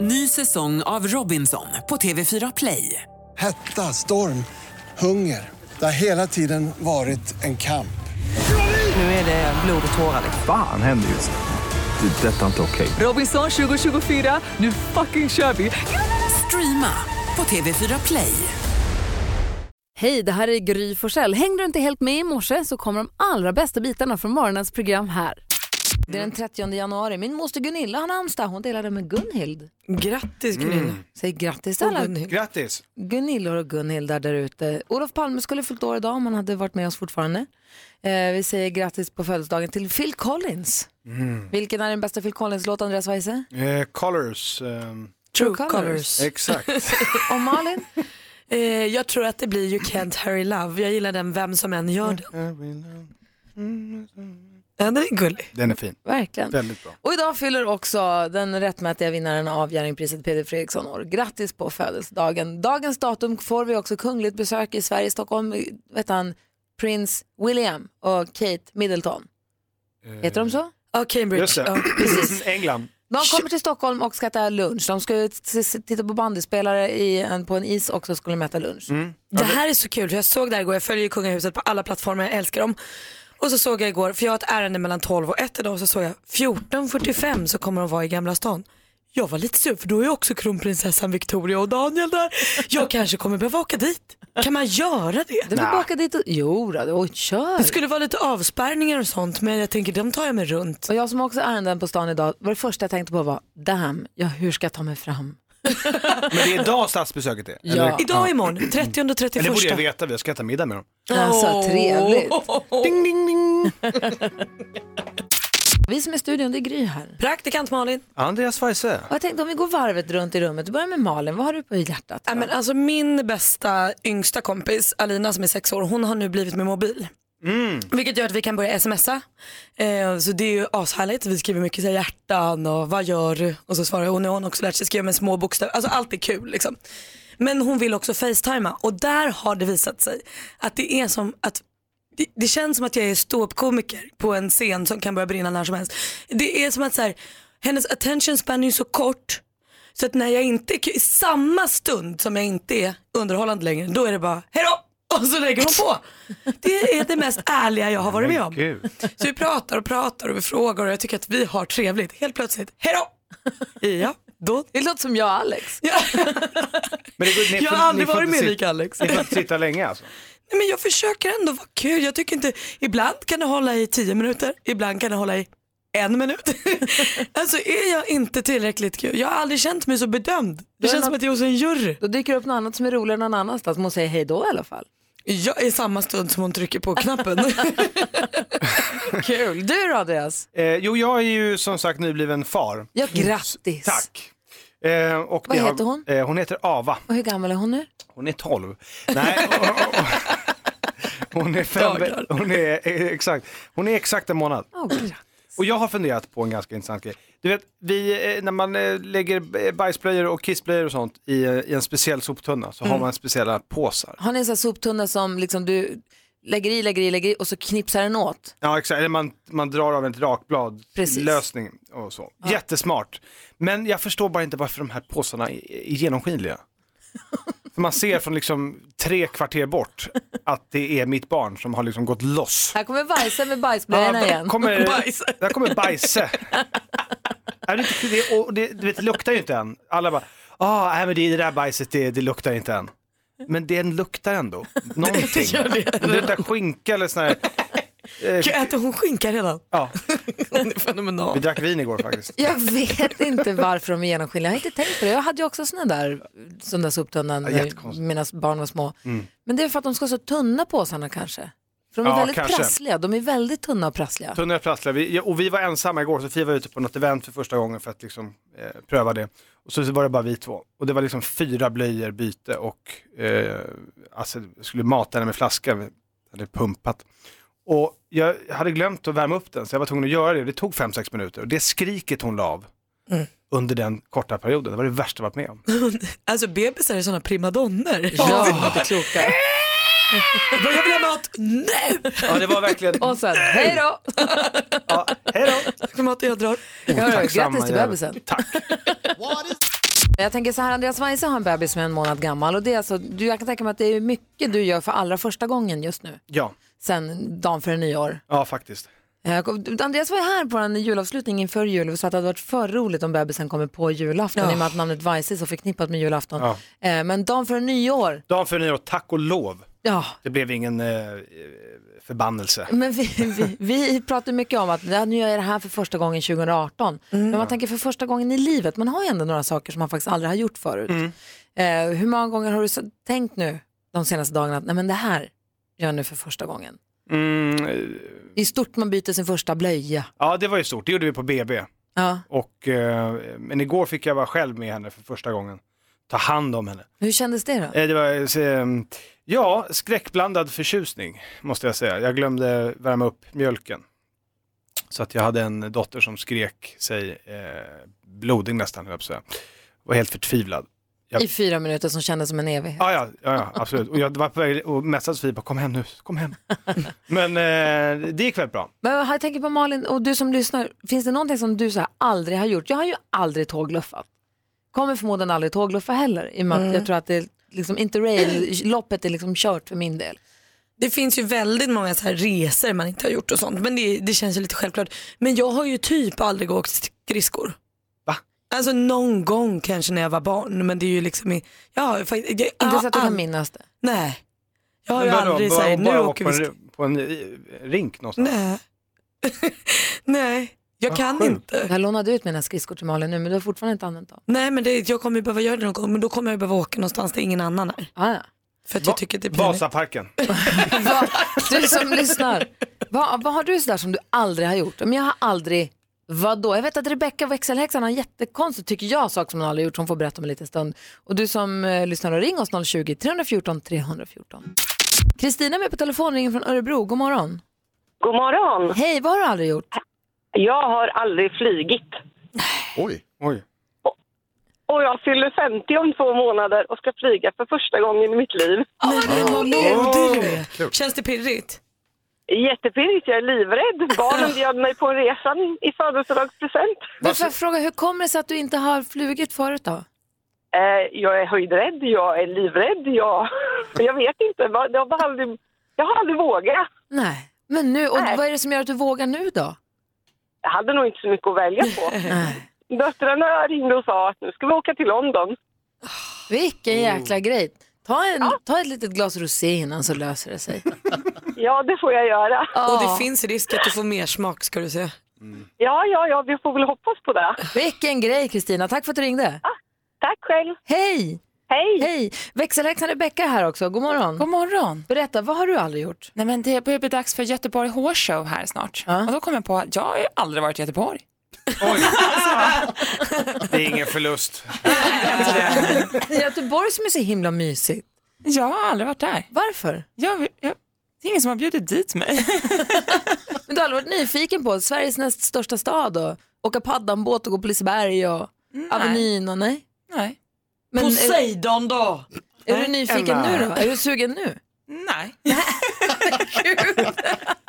Ny säsong av Robinson på TV4 Play. Hetta, storm, hunger. Det har hela tiden varit en kamp. Nu är det blod och tårar. liksom. Fan händer just nu. Det. är Detta är inte okej. Robinson 2024, nu fucking kör vi! Streama på TV4 Play. Hej, det här är Gry Forssell. Hängde du inte helt med i morse så kommer de allra bästa bitarna från morgonens program här. Det är den 30 januari. Min moster Gunilla har namnsdag. Hon delade med Gunhild. Grattis Gunilla. Säg grattis till alla Grattis! Gunillor och Gunhildar där ute. Olof Palme skulle fyllt år idag om han hade varit med oss fortfarande. Eh, vi säger grattis på födelsedagen till Phil Collins. Vilken är den bästa Phil Collins-låten, Andreas Weise? Mm. Eh, colors. ehm, True True colors. Colours. exakt. Och Malin? Eh, jag tror att det blir You Can't Hurry Love. Jag gillar den vem som än gör den. Mm. Ja, den är gullig. Den är fin. Verkligen. Väldigt bra. Och idag fyller också den rättmätiga vinnaren av Jerringpriset Peder Fredriksson år. Grattis på födelsedagen. Dagens datum får vi också kungligt besök i Sverige, Stockholm, vet han, prins William och Kate Middleton. Heter de så? Ja, Cambridge. Just det. Ja, precis. England. De kommer till Stockholm och ska äta lunch. De ska ut t- t- titta på bandyspelare i en, på en is och så skulle de äta lunch. Det här är så kul för jag såg det här igår, jag följer ju kungahuset på alla plattformar, jag älskar dem. Och så såg jag igår, för jag har ett ärende mellan 12 och 1 idag, och så såg jag 14.45 så kommer de vara i Gamla stan. Jag var lite sur för då är ju också kronprinsessan Victoria och Daniel där. Jag kanske kommer behöva åka dit. Kan man göra det? Du vill bara åka dit och... Jo, då, och kör! Det skulle vara lite avspärrningar och sånt men jag tänker de tar jag mig runt. Och jag som också är ärenden på stan idag, var det första jag tänkte på var, damn, ja, hur ska jag ta mig fram? Men det är idag statsbesöket är? Ja. Eller? Mm. Idag imorgon, 30 och Men 31. det borde jag veta, jag ska äta middag med dem. Alltså, trevligt. Ding, ding, ding. Vi som är i studion, det är Gry här. Praktikant Malin. Andreas Weise. Och jag tänkte om vi går varvet runt i rummet, du börjar med Malin, vad har du på hjärtat? Ja, men alltså min bästa yngsta kompis, Alina som är sex år, hon har nu blivit med mobil. Vilket gör att vi kan börja smsa. Eh, så det är ju ashärligt. Vi skriver mycket så här, hjärtan och vad gör du? Och så svarar hon, nu har hon också lärt sig skriva med små bokstäver. Alltså allt är kul liksom. Men hon vill också facetima och där har det visat sig att det är som att det, det känns som att jag är ståuppkomiker på en scen som kan börja brinna när som helst. Det är som att så här, hennes attention span är ju så kort så att när jag inte är kul, i samma stund som jag inte är underhållande längre, då är det bara hejdå! Och så lägger hon på. Det är det mest ärliga jag har varit med om. Gud. Så vi pratar och pratar och vi frågar och jag tycker att vi har trevligt. Helt plötsligt, hejdå! Ja, då. Det låter som jag och Alex. Ja, Men det går, ni jag får- har aldrig ni får varit inte med sit- lik Alex. Ni får inte sitta länge alltså. Nej, men jag försöker ändå vara kul. Jag tycker inte, ibland kan det hålla i tio minuter, ibland kan det hålla i en minut. alltså är jag inte tillräckligt kul? Jag har aldrig känt mig så bedömd. Det är känns någon- som att jag är hos en jury. Då dyker det upp något annat som är roligare någon annanstans, man säger hej då i alla fall. Jag är samma stund som hon trycker på knappen. Kul! Du då Andreas? Eh, jo, jag är ju som sagt nybliven far. Ja, grattis! Tack. Eh, och Vad det har- heter hon? Eh, hon heter Ava. Och hur gammal är hon nu? Hon är 12. Nej, och- och- och- hon är fem, Dagar. hon är, eh, exakt, hon är exakt en månad. Åh, grattis. Och jag har funderat på en ganska intressant grej. Du vet, vi, eh, när man eh, lägger eh, bajsblöjor och kissblöjor och sånt i, eh, i en speciell soptunna så har Mm. man speciella påsar. Har ni en sån här soptunna som liksom du lägger i, lägger i, lägger i och så knipsar den åt? Ja, exakt. Eller man, man drar av ett rakblad Precis. lösning och så. Jättesmart. Men jag förstår bara inte varför de här påsarna är, är genomskinliga. För man ser från liksom tre kvarter bort att det är mitt barn som har liksom gått loss. Här kommer Weise med bajsblöjorna där igen. Kommer, Bajs. Där kommer bajse. är det, inte- det, och det, du vet, det luktar ju inte än. Alla bara, ah, nej, men det, det där bajset det, det luktar inte än. Men den luktar ändå. Någonting. gör det. Om det inte är skinka eller sån här. eh, Äter hon skinka redan? Ja, Hon är vi fenomenal. drack vin igår faktiskt. Jag vet inte varför de är genomskinliga. Jag har inte tänkt på det. Jag hade ju också såna där, sån där soptunnan när jättekonstigt. mina barn var små. Mm. Men det är för att de ska vara så tunna påsarna kanske. För de är Ja, väldigt kanske. prassliga. De är väldigt tunna och prassliga. Tunna prasslar. Vi, ja, och vi var ensamma igår, Sofia var ute på något event för första gången för att liksom, eh, pröva det. Och så var det bara vi två. Och det var liksom fyra blöjor, byte och eh, alltså, jag skulle mata henne med flaska, vi hade pumpat. Och jag hade glömt att värma upp den så jag var tvungen att göra det. Det tog fem sex minuter och det skriket hon la av Mm. under den korta perioden, det var det värsta jag varit med om. Alltså bebisar är sådana primadonner. Ja, de är inte kloka. Men jag vill ha mat nu! Ja, det var verkligen, Och sen, hej då! ja, hej då! Klimatet jag drar. Hörru, Otacksamma Grattis till jävel. bebisen. Tack. Jag tänker så här, Andreas Weise har en bebis som är en månad gammal och det är alltså, du, jag kan tänka mig att det är mycket du gör för allra första gången just nu, Ja, sen dagen före nyår. ja faktiskt. Eh, Andreas var ju här på en julavslutning inför jul och sa att det hade varit för roligt om bebisen kommer på julafton i och med att namnet Weise är så förknippat med julafton. Ja. Eh, Men dagen före nyår, Dagen före nyår, tack och lov. ja, Det blev ingen eh, förbannelse. Men vi, vi, vi pratar mycket om att ja, nu gör jag det här för första gången 2018. Men man tänker för första gången i livet, man har ju ändå några saker som man faktiskt aldrig har gjort förut. Eh, hur många gånger har du så, tänkt nu de senaste dagarna att nej men det här gör jag nu för första gången? Mm, eh, Det är stort man byter sin första blöja. ja, det var ju stort. Det gjorde vi på BB. Ja. Och, eh, men igår fick jag vara själv med henne för första gången. Ta hand om henne. Hur kändes det då? Eh, Det var, eh, ja, skräckblandad förtjusning måste jag säga. Jag glömde värma upp mjölken. Så att jag hade en dotter som skrek sig eh, blodig nästan, höll jag på att säga. Var helt förtvivlad. ja. I fyra minuter som kändes som en evighet. Ja, ja, ja, ja absolut. Och jag var på väg och messade Sofie, bara, kom hem nu, kom hem. Men eh, det gick väldigt bra. Men jag tänker på Malin och du som lyssnar, finns det någonting som du så här aldrig har gjort? Jag har ju aldrig tågluffat. Kommer förmodligen aldrig tågluffa heller i och med Mm. att jag tror att det är liksom interrail-loppet är liksom kört för min del. Det finns ju väldigt många så här resor man inte har gjort och sånt. Men det, det känns ju lite självklart. Men jag har ju typ aldrig åkt skridskor. Va? Alltså någon gång kanske när jag var barn. Men det är ju liksom, i- jag har ju faktiskt, jag, jag, Inte så att du har kan ald- minnas det. Nej. Jag har ju Men vadå, aldrig bara- såhär, nu bara åker vi åka skridskor. på en, på en eh, rink någonstans. Nej. Nej, jag Vad kan sjukt. inte. Jag lånade ut mina skridskor till Malin nu men du har fortfarande inte använt dem. Nej men det, jag kommer ju behöva göra det någon gång men då kommer jag behöva åka någonstans där ingen annan är. Ah, ja. För att jag tycker att det är pinligt. Vasaparken. Va, du som lyssnar, vad, vad har du sådär som du aldrig har gjort? Men jag har aldrig, vadå? Jag vet att Rebecca växelhäxan har en jättekonstig, tycker jag, sak som hon aldrig gjort som hon får berätta om en liten stund. Och du som eh, lyssnar, ring oss 020-314 314. Kristina är med på telefon, ringer från Örebro. God morgon. God morgon! Hej, vad har du aldrig gjort? Jag har aldrig flygit. Oj. Oj. Och jag fyller 50 om två månader och ska flyga för första gången i mitt liv. Nej, men vad modig du är. Känns det pirrigt? Jättepirrigt, jag är livrädd. Barnen bjöd mig på en resa i födelsedagspresent. Du, får jag fråga, hur kommer det sig att du inte har flugit förut då? Eh, jag är höjdrädd, jag är livrädd, jag, jag vet inte. vad- Jag har aldrig, jag har aldrig vågat. Nej, men nu, och Nej. vad är det som gör att du vågar nu då? Jag hade nog inte så mycket att välja på. Nej. Döttrarna ringde och sa att nu ska vi åka till London. Vilken jäkla grej. Ta, en, ta ett litet glas rosé innan så löser det sig. Ja, det får jag göra. Och Ja. det finns risk att du får mer smak ska du säga. Ja, ja, ja, vi får väl hoppas på det. Ah, Vilken grej Kristina, tack för att du ringde. Tack själv. Hej! Hej! Hej! Växelhäxan Rebecka är här också, god morgon. God morgon. Berätta, vad har du aldrig gjort? Nej, men det börjar bli dags för Göteborg Horse Show här snart. Ja. Och då kom jag på att jag har ju aldrig varit i Göteborg. Det är ingen förlust. Göteborg som är så himla mysigt. Jag har aldrig varit där. Varför? Jag, jag, det är ingen som har bjudit dit mig. Men du har aldrig varit nyfiken på Sveriges näst största stad och åka paddanbåt och gå på Liseberg och Avenyn och nej? Nej. Men är, Poseidon då! är du nyfiken Emma. nu då? Är du sugen nu? Nej.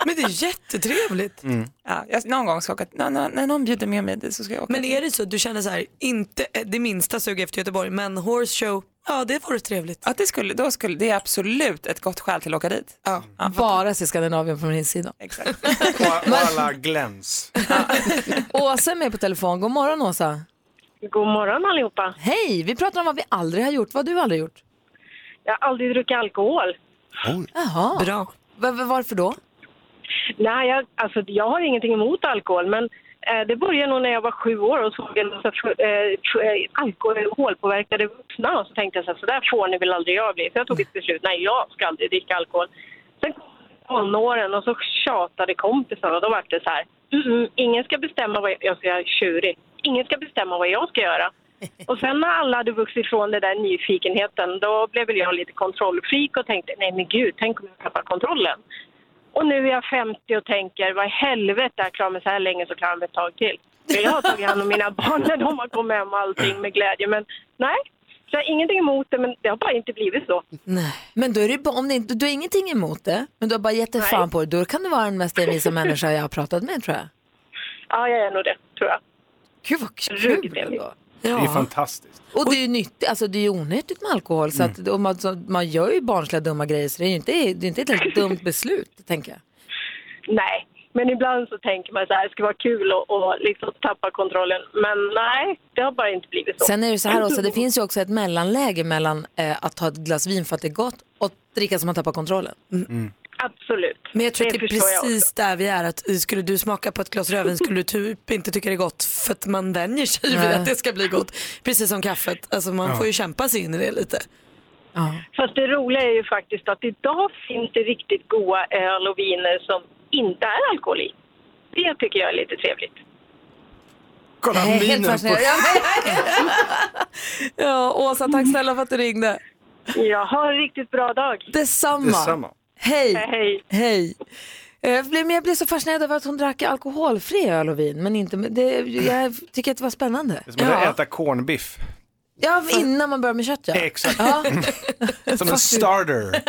Men det är jättetrevligt. Mm. Ja, jag, någon gång ska jag åka, när, när, när någon bjuder med mig dit så ska jag åka. Men är det så att du känner så här, inte eh, det minsta sug efter Göteborg men horse show, ja det vore trevligt. att det, skulle, då skulle, det är absolut ett gott skäl till att åka dit. Ja. Bara se Skandinavien från min sida. Exakt. Och, och alla gläns. Åsa är med på telefon, god morgon Åsa. God morgon allihopa. Hej, vi pratar om vad vi aldrig har gjort, vad har du aldrig gjort? Jag har aldrig druckit alkohol. Jaha, Bra. Va- va- varför då? Nej, jag, alltså, jag har ingenting emot alkohol, men eh, det började nog när jag var sju år och såg en massa eh, tr- eh, alkoholpåverkade vuxna. Och så tänkte jag så, här, så där får ni väl aldrig jag bli. Så jag tog ett beslut, nej jag ska aldrig dricka alkohol. Sen kom tonåren och så tjatade kompisarna och då var det så här, "Mm, mm, ingen ska bestämma vad jag, jag ska tjurig. Ingen ska bestämma vad jag ska göra. Och sen när alla hade vuxit ifrån den där nyfikenheten, då blev väl jag lite kontrollfreak och tänkte, nej men gud, tänk om jag tappar kontrollen. Och nu är jag 50 och tänker, vad i helvete, jag klarar mig så här länge så klarar jag mig ett tag till. För jag har tagit hand om mina barn när de har kommit hem och allting med glädje. Men nej, så jag har ingenting emot det, men det har bara inte blivit så. Men då är det, bara- om det, inte- du har ingenting emot det, men du har bara gett dig fan på det. Då kan du vara den mest envisa människa jag har pratat med tror jag. Ja, jag är nog det, tror jag. Gud vad kul Ruggigt envis. ändå. Det är fantastiskt. Och det är ju nyttigt, alltså det är ju onyttigt med alkohol. Så att, och man, så, man gör ju barnsliga dumma grejer så det är ju inte, det är inte ett helt dumt beslut, tänker jag. Nej, men ibland så tänker man så här, det skulle vara kul att och liksom tappa kontrollen. Men nej, det har bara inte blivit så. Sen är det så här också, det finns ju också ett mellanläge mellan eh, att ta ett glas vin för att det är gott och dricka så man tappar kontrollen. Mm. Absolut. Men jag tror det att det är förstår jag precis där vi är. Att skulle du smaka på ett glas rödvin skulle du typ inte tycka det är gott för att man vänjer sig vid Nej. att det ska bli gott. Precis som kaffet. Alltså man får ju kämpa sig in i det lite. Fast det roliga är ju faktiskt att idag finns det riktigt goda öl och viner som inte är alkohol i. Det tycker jag är lite trevligt. Kolla Nej, helt minen på fascinerande. ja, Åsa, tack snälla för att du ringde. Jag har en riktigt bra dag. Detsamma. Detsamma. Hej. Hej. Hej. Eh, Jag blev, men jag blev så fascinerad över att hon drack alkoholfri öl och vin, men inte, men det, jag tycker att det var spännande. Det är som att äta cornbiff. Ja, innan man börjar med kött ja. Exakt. ja. Som en starter.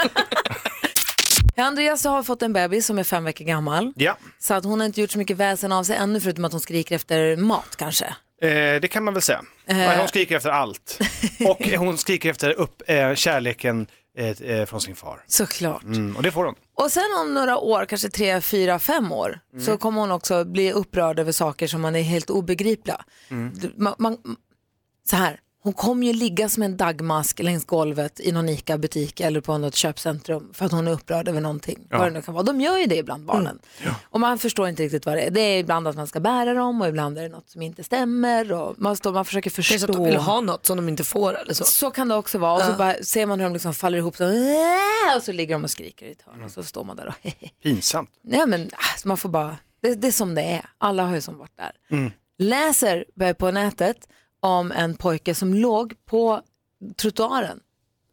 Andreas har fått en bebis som är fem veckor gammal. Ja, Så att hon har inte gjort så mycket väsen av sig ännu förutom att hon skriker efter mat kanske. eh, det kan man väl säga. Nej, Eh. Hon skriker efter allt. Och hon skriker efter upp, eh, kärleken eh, eh, från sin far. Såklart. Mm, och det får hon. Och sen om några år, kanske tre, fyra, fem år, så kommer hon också bli upprörd över saker som man är helt obegripliga. Mm. Du- Man, man, så här, hon kommer ju ligga som en dagmask längs golvet i någon ICA-butik eller på något köpcentrum för att hon är upprörd över någonting. Vad det nu kan vara. De gör ju det ibland, barnen. Och man förstår inte riktigt vad det är. Det är ibland att man ska bära dem och ibland är det något som inte stämmer. Och man, står, man försöker Det förstå. är så att de vill ha något som de inte får eller så. Så kan det också vara. Och så bara, ser man hur de liksom faller ihop så, "Äh!" och så ligger de och skriker i ett hörn och så står man där och Pinsamt. Nej men alltså, man får bara, det, det är som det är. Alla har ju som varit där. Mm. Läser eh, på nätet om en pojke som låg på trottoaren,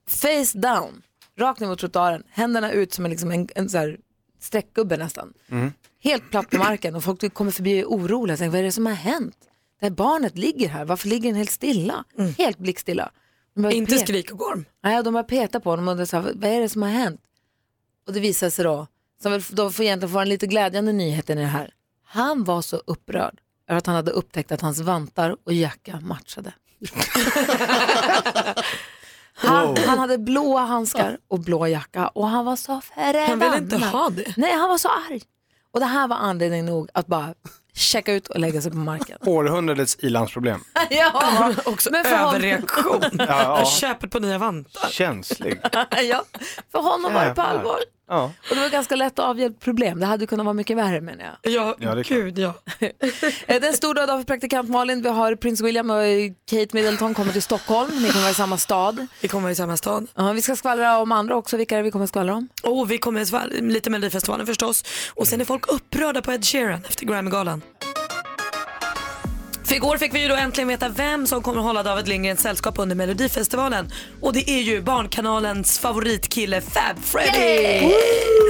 face down, rakt ner mot trottoaren, händerna ut som en, liksom en, en så här streckgubbe nästan. Mm. Helt platt på marken och folk kommer förbi och är oroliga. Tänker, vad är det som har hänt? Det här barnet ligger här, varför ligger den helt stilla? Helt blickstilla. De börjar Mm. Inte peka. skrik och gorm. Nej, de bara petar på honom och undrar så här, vad är det som har hänt? Och det visar sig då, som väl då får egentligen få en lite glädjande nyhet i det här. Han var så upprörd över att han hade upptäckt att hans vantar och jacka matchade. han, han hade blåa handskar och blå jacka och han var så förbannad. Han ville inte ha det. Nej, han var så arg. Och det här var anledning nog att bara checka ut och lägga sig på marken. Århundradets ilandsproblem. ja, Också Men för honom- överreaktion. Ja, ja. Köpet på nya vantar. Känslig. ja, för honom var det på Jävlar. allvar. Ja. Och det var ganska lätt att avhjälpa problem. Det hade kunnat vara mycket värre menar jag. Ja, Ja, det är klart. gud ja. Eh, Det är en stor dag för praktikant Malin. Vi har prins William och eh, Kate Middleton kommer till Stockholm. Ni kommer vara i samma stad. Vi kommer i samma stad. Ja, vi ska skvallra om andra också. Vilka är det vi kommer skvallra om? Och Oh, vi kommer svall- lite Melodifestivalen förstås. Och sen är folk upprörda på Ed Sheeran efter Grammygalan. För igår fick vi ju då äntligen veta vem som kommer hålla David Lindgrens sällskap under Melodifestivalen. Och det är ju Barnkanalens favoritkille Fab Freddy.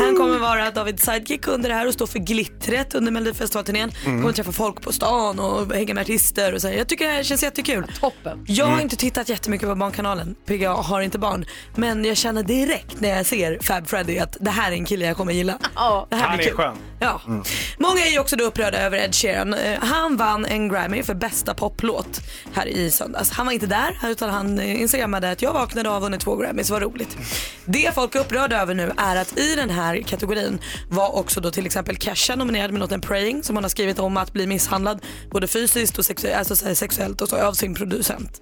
Han kommer vara Davids sidekick under det här och stå för glittret under Melodifestivalturnén. Kommer träffa folk på stan och hänga med artister och så. här. Jag tycker det här känns jättekul. Toppen. Jag Mm. har inte tittat jättemycket på Barnkanalen, för jag har inte barn. Men jag känner direkt när jag ser Fab Freddy att det här är en kille jag kommer gilla. Ja. Det här Han blir är kul. skön. Ja. Många är ju också då upprörda över Ed Sheeran. Eh, Han vann en Grammy för bästa poplåt här i söndags. Han var inte där utan han eh, instagrammade att jag vaknade och har vunnit två Grammys, vad roligt. Det folk är upprörda över nu är att i den här kategorin var också då till exempel Kesha nominerad med låten Praying som hon har skrivit om att bli misshandlad både fysiskt och sexu- alltså så här sexuellt och så av sin producent.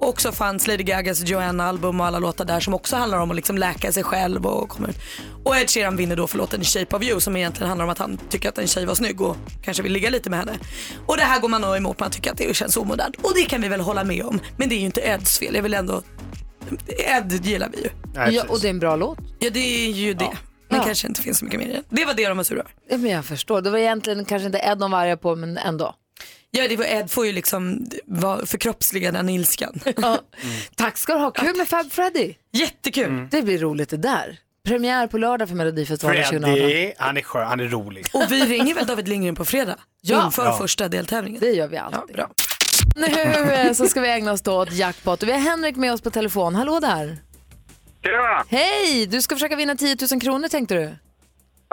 Och så fanns Lady Gagas Joanna-album och alla låtar där som också handlar om att liksom läka sig själv och komma ut. Och Ed Sheeran vinner då för låten Shape of You som egentligen handlar om att han tycker att en tjej var snygg och kanske vill ligga lite med henne. Och det här går man då emot, man tycker att det känns omodernt. Och det kan vi väl hålla med om. Men det är ju inte Eds fel, jag vill ändå... Ed gillar vi ju. Nej, Ja, precis. och det är en bra låt. Ja det är ju det. Men Ja. kanske inte finns så mycket mer i det. Det var det de var sura över. Ja, men jag förstår. Det var egentligen kanske inte Ed de var arga på, men ändå. Ja det var Ed får ju liksom vara- förkroppsliga den ilskan. Ja. Tack ska du ha. Kul med Fab Freddy. Jättekul. Det blir roligt det där. Premiär på lördag för Melodifestivalen 2018. Freddy, han är skön, han är rolig. Mm. Och vi ringer väl David Lindgren på fredag Ja. inför Ja. första deltävlingen. Det gör vi alltid. Ja, bra. Nu eh, så ska vi ägna oss då åt jackpot. Och Vi har Henrik med oss på telefon. Hallå där! Tjena! Hej! Du ska försöka vinna 10 000 kronor tänkte du?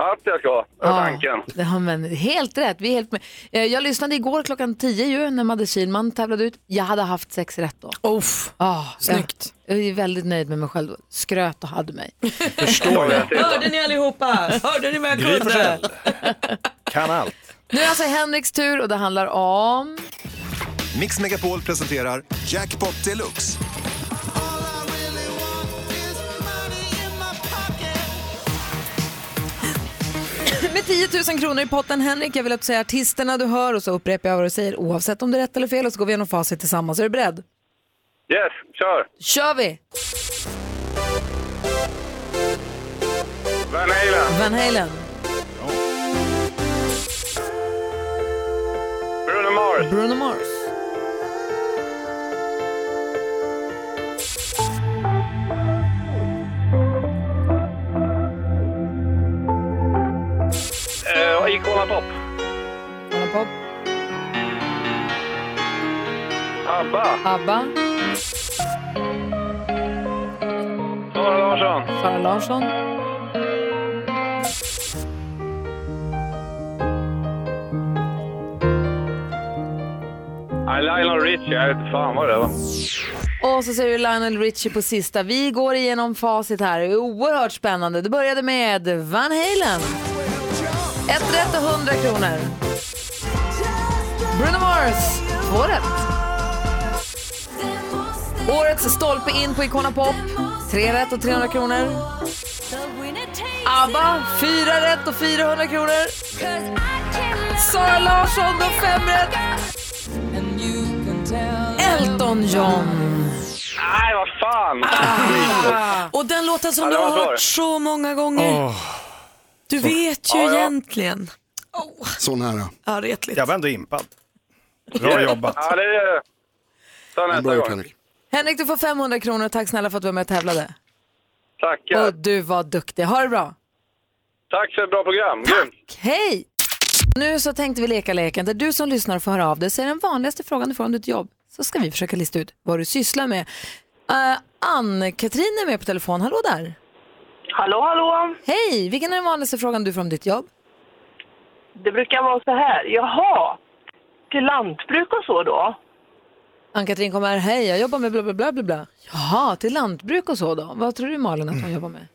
Allt jag ska ha, är tanken. det har man helt rätt. Vi är helt med. Eh, Jag lyssnade igår klockan 10 ju när Madde Kihlman tävlade ut. Jag hade haft sex rätt då. Uff, Ah, snyggt. Jag, jag är väldigt nöjd med mig själv. Skröt och hade mig. Förstår jag. Hörde ni allihopa? Hörde ni vad jag Gry kunde? Forssell. Kan allt. Nu är det alltså Henriks tur och det handlar om... Mix Megapol presenterar Jackpot Deluxe. Med 10 000 kronor i potten Henrik, jag vill att du säger artisterna du hör och så upprepar jag vad du säger oavsett om det är rätt eller fel och så går vi igenom facit tillsammans. Är du beredd? Yes, kör! kör vi! Van Halen, Van Halen, Bruno Mars, Bruno Mars, eh, och Icona Pop, Anna Pop, ABBA, ABBA, Sara Larsson, Sara Larsson, Nej, Lionel Richie, jag vet inte fan vad det var. Och så säger vi Lionel Richie på sista. Vi går igenom facit här. Det är oerhört spännande. Det började med Van Halen. Ett rätt och 100 kronor. Bruno Mars, två rätt. Årets stolpe in på Icona Pop, tre rätt och 300 kronor. ABBA, fyra rätt och 400 kronor. Sara Larsson, då fem rätt. Elton John. Nej, vad fan! Och den låten som Ja, du det var har svår. hört så många gånger. Du vet ju Ja, ja. egentligen. Så nära. Ja, retligt. Jag var ändå impad. Bra jobbat. Ja, det är det. Ta Bra nästa gjort, gång. Henrik. Henrik, du får 500 kronor. Tack snälla för att du var med och tävlade. Tackar. Och du var duktig. Ha det bra. Tack för ett bra program. Grymt. Hej! Nu så tänkte vi leka leken där du som lyssnar får höra av dig. Säg den vanligaste frågan du får om ditt jobb. Så ska vi försöka lista ut vad du sysslar med. Eh, Ann-Katrin är med på telefon. Hallå där! Hallå, hallå! Hej! Vilken är den vanligaste frågan du får om ditt jobb? Det brukar vara så här. Jaha, till lantbruk och så då? Ann-Katrin kommer här. Hej, jag jobbar med bla bla bla bla bla. Jaha, till lantbruk och så då. Vad tror du Malin att hon jobbar med?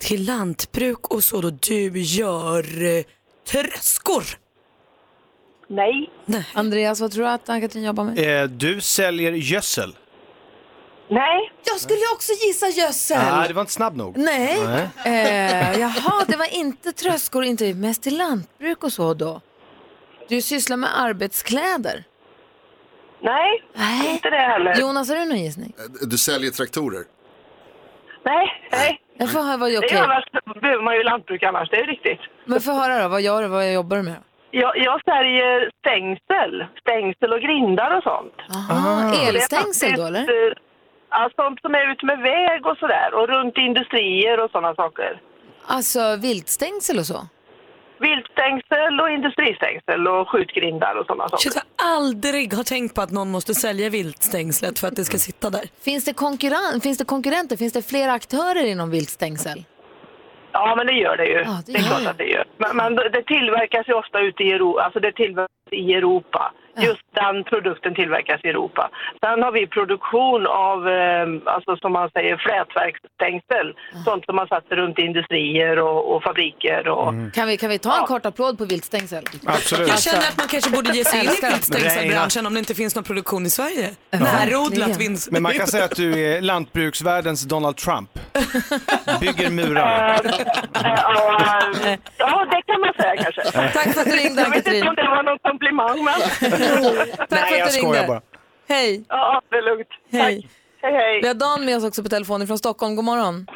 Till lantbruk och så då du gör eh, tröskor. Nej. Andreas, vad tror du att Ann-Katrin jobbar med? Eh, du säljer gödsel. Nej. Jag skulle också gissa gödsel! Nej, det var inte snabb nog. Nej. Nej. Eh, jaha, det var inte tröskor, inte mest till lantbruk och så då. Du sysslar med arbetskläder. Nej, Nej. inte det heller. Jonas, har du någon gissning? Du säljer traktorer. Nej, nej. Jag får höra vad jag Det är ju okay. annars behöver man ju lantbruk annars, det är ju riktigt. Men får höra då, vad gör du, vad jobbar du med? Jag, jag säljer stängsel, stängsel och grindar och sånt. Aha, elstängsel då Det är eller? faktiskt, eh, Ja, sånt som är ut med väg och sådär och runt industrier och sådana saker. Alltså viltstängsel och så? Viltstängsel och industristängsel och skjutgrindar och sådana saker. Shit, jag aldrig har tänkt på att någon måste sälja viltstängslet för att det ska sitta där. Finns det, konkurren- finns det konkurrenter, finns det flera aktörer inom viltstängsel? Ja, men det gör det ju. Ja, det det, är gör klart det. att det gör. Men, men det tillverkas ju ofta ute i Europa. Alltså det tillverkas i Europa. Just den produkten tillverkas i Europa. Sen har vi produktion av, eh, alltså som man säger, flätverksstängsel. Sånt som man sätter runt i industrier och, och fabriker. Och, Kan vi, kan vi ta en kort applåd på viltstängsel? Mm. Absolut. Jag känner att man kanske borde ge sig in i Älskar. viltstängselbranschen om det inte finns någon produktion i Sverige. Närodlat verkligen. vinst. Men man kan säga att du är lantbruksvärldens Donald Trump. Bygger murar. Eh, ja, eh, ja, det kan man säga kanske. Tack för att du ringde Jag vet Ann-Katrin. inte om det var någon komplimang, men Tack för Nej, att jag du skojar ringde. bara. Hej, ja, det är lugnt. hej. Tack. Hej, hej. Vi har Dan med oss också på telefonen från Stockholm. God morgon.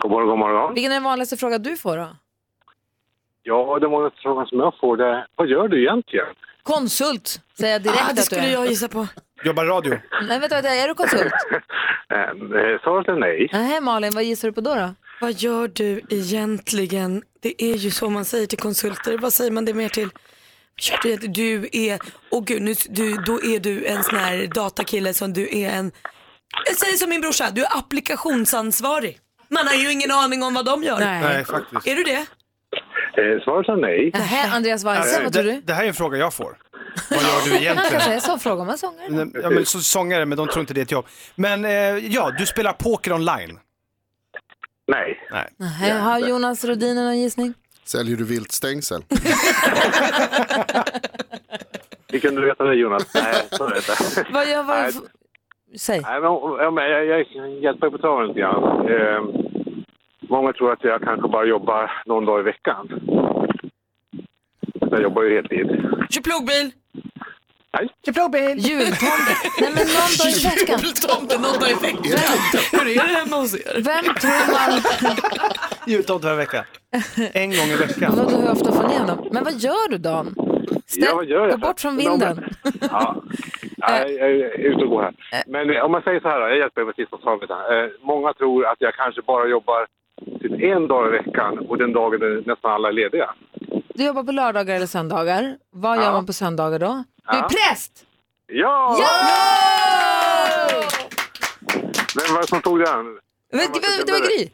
God morgon, god morgon. Vilken är den vanligaste frågan du får då? Ja, den vanligaste frågan som jag får det är, vad gör du egentligen? Konsult, säger jag direkt Ah, det att du skulle är. jag gissa på. Jobbar radio. Nej, vänta, vänta, är du konsult? Eh, Svaret är nej. Nej, Malin, vad gissar du på då? då? Vad gör du egentligen? Det är ju så man säger till konsulter. Vad säger man det mer till? Vad gör du egentligen? Du är, åh gud, nu, du, då är du en sån här datakille som du är en, jag säger som min brorsa, du är applikationsansvarig. Man har ju ingen aning om vad de gör. Nej, faktiskt. Är du det? Eh, svaret är nej. Nähä, Andreas Weise, vad tror det, du? det här är en fråga jag får. Vad gör du Man kan egentligen? säga så, frågar man sångare. Ja, men, så, sångare, men de tror inte det är ett jobb. Men eh, ja, du spelar poker online. Nej. Nej. Nähä, har Jonas Rhodiner någon gissning? Säljer du viltstängsel? Hur kunde du veta det Jonas? Nej, eh, så är det inte. Vad gör, vad, Nej. säg. Nej, men, ja, men jag, jag hjälper på traven lite grann. Eh, många tror att jag kanske bara jobbar någon dag i veckan. Jag jobbar ju heltid. Kör plogbil. Nej. Kör plogbil. Jultomte. Nej men någon dag i veckan. Jultomte någon dag i veckan. Hur är det hemma hos er? Vem tror man... Jultomte varje vecka. En gång i veckan. Vadå, hur ofta får ni honom? Men vad gör du Dan? Ställ, Ja, vad gör jag? Gå bort från vinden. Ja. Nej, jag är ute och går här. Men eh, om man säger så här, då, jag hjälper er med sista svaret. här. Eh, många tror att jag kanske bara jobbar typ en dag i veckan och den dagen är nästan alla är lediga. Du jobbar på lördagar eller söndagar. Vad gör man på söndagar då? Du är präst! Ja! Ja! Vem var det som tog den? Men, vad men, tycker det var du? Gry.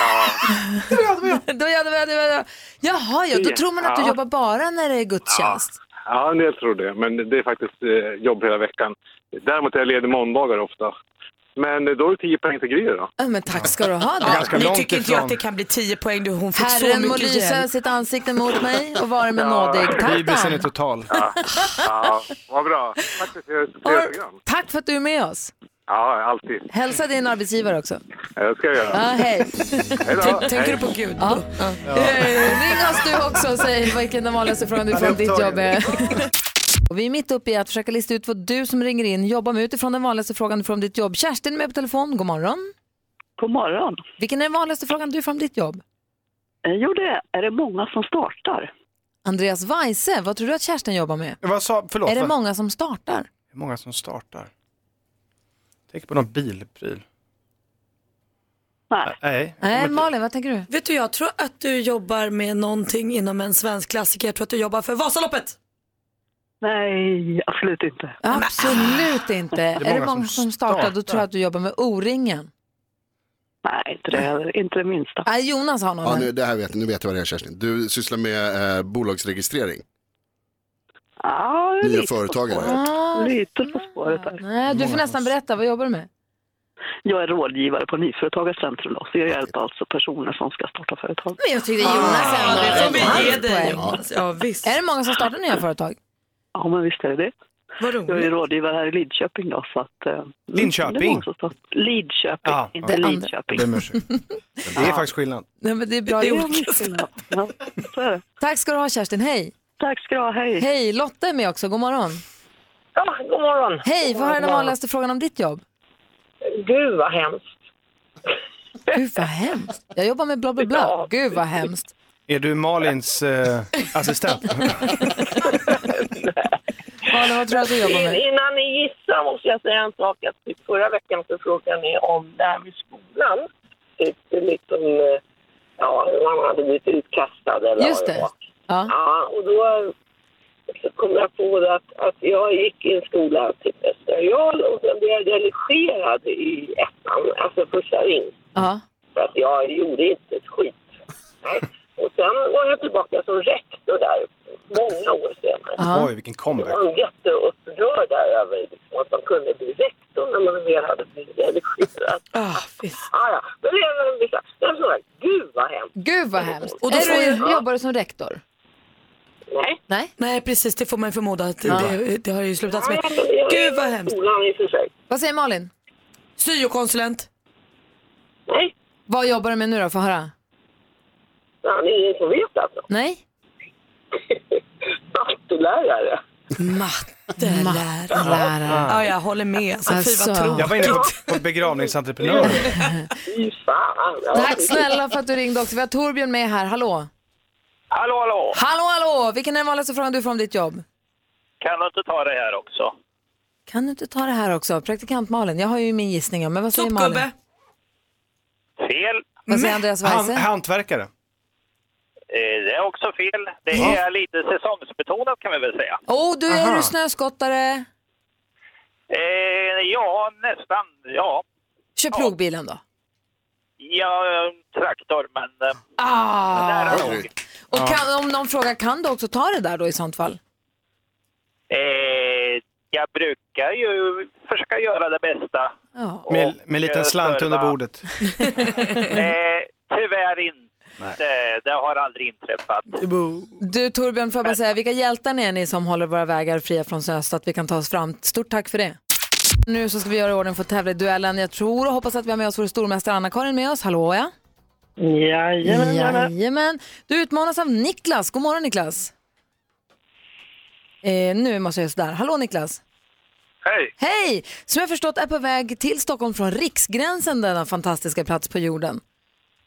Ja. det var jag, det var jag, det var jag. Jaha, ja, då tror man att du Ja. jobbar bara när det är gudstjänst. Ja, en del tror det, men det är faktiskt eh, jobb hela veckan. Däremot är jag ledig måndagar ofta. Men eh, då är det 10 poäng till Gry då. Ja, men tack ska du ha Dan. Ganska Nu långt tycker inte ifrån. jag att det kan bli 10 poäng. Du, hon fick så Herren må mycket lysa hjälp. sitt ansikte mot mig och vare mig nådig. Tack Bibelsen är Dan. total. Ja, vad bra. Tack för ett trevligt program. Tack för att du är med oss. Ja, alltid. Hälsa din arbetsgivare också. Det ska jag Ja, göra. hej. Hej då. Tänker Hej. du på Gud? Ja. Eh, Ring oss du också och säg vilken den vanligaste frågan du får om ditt jobb är. Och vi är mitt uppe i att försöka lista ut vad du som ringer in jobbar med utifrån den vanligaste frågan från ditt jobb. Kerstin är med på telefon, god morgon. God morgon. Vilken är den vanligaste frågan du får om ditt jobb? Eh, Jo, det är det många som startar. Andreas Weise, vad tror du att Kerstin jobbar med? Vad sa, förlåt, Är det vad- många som startar? hur många som startar? Tänk på någon bilpryl. Nej. Nej. Nej, Malin, vad tänker du? Vet du, jag tror att du jobbar med någonting inom en svensk klassiker. Jag tror att du jobbar för Vasaloppet. Nej, absolut inte. Absolut inte. Är det många som startar, då tror jag att du jobbar med O-ringen. Nej, inte det, heller. inte det minsta. Nej, Jonas har Ja, någon. nu, det här vet, nu vet jag vad det är Kerstin. Du sysslar med eh, bolagsregistrering. Ja, jag är Nya lite på företagare. spåret. Ah, Lite på spåret där. nej, du får nästan berätta, vad jobbar du med? Jag är rådgivare på Nyföretagarcentrum då, så jag hjälper alltså personer som ska starta företag. Men jag tyckte Jonas ändå det får var vi ge en dig poäng. Jonas. Ja, visst. Är det många som startar nya företag? Ja, men visst är det det. Vad Jag är roligt. rådgivare här i Lidköping då, så att... eh, Linköping? det var också så. Lidköping, Ja, inte ja. Lidköping. Jag ber om ursäkt. Det är faktiskt skillnad. Nej, men det är bra Det är gjort. olika Ja, ja, så är det. Tack ska du ha Kerstin, hej! Tack ska du ha, hej. Hej, Lotta är med också, god morgon. Ja, god morgon. Hej, vad är den vanligaste frågan om ditt jobb? Gud vad hemskt. Gud vad hemskt. Jag jobbar med bla bla bla. Gud vad hemskt. Är du Malins eh, assistent? Malin, vad tror du att du jobbar med? Innan ni gissar måste jag säga en sak. Att typ förra veckan så frågade ni om det här med skolan. Typ liksom, eh, ja, man hade blivit utkastad eller Just vad det. var. Ja. Ja, och då så kom jag på det att, att jag gick i en skola, typ Östra Real, och sen blev jag delegerad i ettan, alltså första ring. Ja. För att jag gjorde inte ett skit. Nej. Och sen var jag tillbaka som rektor där många år senare. Ja. Alltså, Oj, vilken comeback. Jag var jätteupprörd där över liksom, att man kunde bli rektor när man väl hade blivit delegerad. Ah, visst. Ah, ja. Men det är väl vissa... Jag frågar, gud vad hemskt. Gud vad hemskt. Och då är får du, jag- jobbar du som rektor? Nej. Nej? Nej, precis. Det får man ju förmoda att det, det har ju slutats med. Nej, men jag är Gud vad i hemskt. Skolan i och för sig. Vad säger Malin? Syokonsulent. Nej, Vad jobbar du med nu då? Få höra. fan, det är ingen som vet alltså. Nej? Mattelärare. Mattelärare. Lärare. Ja, jag håller med. Alltså, Fy Alltså. Jag vad tråkigt. var inne på, på begravningsentreprenör. Fy fan. Ja, Tack snälla för att du ringde också. Vi har Torbjörn med här, hallå. Hallå, hallå! Hallå, hallå! Vilken är den vanligaste frågan du får om ditt jobb? Kan du inte ta det här också? Kan du inte ta det här också? Praktikant Malin, jag har ju min gissning, ja, men vad säger Malin? Sopgubbe. Fel. Vad säger Andreas Han, Weise? hantverkare. Eh, det är också fel. Det är lite säsongsbetonat kan vi väl säga. Åh, oh, du är du snöskottare. Eh, ja, nästan. Ja. Kör plogbilen då. Ja, traktor, eh, men... Ah. Oj, Och Ja. kan, om någon frågar, kan du också ta det där då i sånt fall? Eh, jag brukar ju försöka göra det bästa. Ja. Med, med en liten slant under bordet. Eh, tyvärr inte. Det, det har aldrig inträffat. Du Torbjörn, får jag bara säga, vilka hjältar ni är ni som håller våra vägar fria från snö så att vi kan ta oss fram. Stort tack för det. Nu så ska vi göra i ordning för att tävla i duellen. Jag tror och hoppas att vi har med oss vår stormästare Anna-Karin med oss. Hallå ja? Jajamän, jajamän. Jajamän. Du utmanas av Niklas. God morgon Niklas. Eh, nu måste jag göra sådär. Hallå Niklas. Hej! Hej! Som jag förstått är på väg till Stockholm från Riksgränsen, denna fantastiska plats på jorden.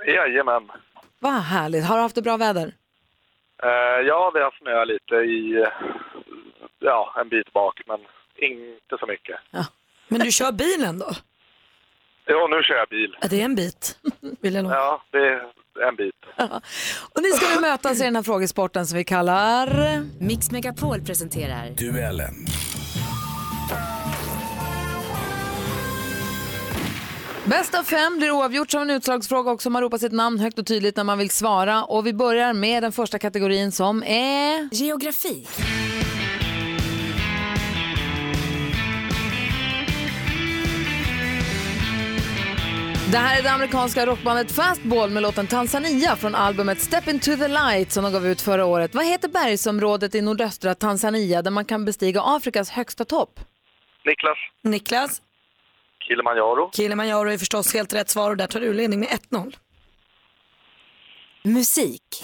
Jajamän. Vad härligt. Har du haft det bra väder? Eh, ja, vi har snö lite i, eh, ja, en bit bak, men inte så mycket. Men du kör bilen då? Ja, nu kör jag bil. Ja, det är en bit, vill jag nog. Ja, det är en bit. Och nu ska vi mötas i den här frågesporten som vi kallar... Mix Megapol presenterar Duellen. Bäst av fem blir oavgjort som en utslagsfråga också. Man ropar sitt namn högt och tydligt när man vill svara. Och vi börjar med den första kategorin som är... Geografi. Det här är det amerikanska rockbandet Fastball med låten Tanzania från albumet Step Into the Light som de gav ut förra året. Vad heter bergsområdet i nordöstra Tanzania där man kan bestiga Afrikas högsta topp? Niklas Niklas, Kilimanjaro. Kilimanjaro är förstås helt rätt svar och där tar du ledning med 1-0. Musik.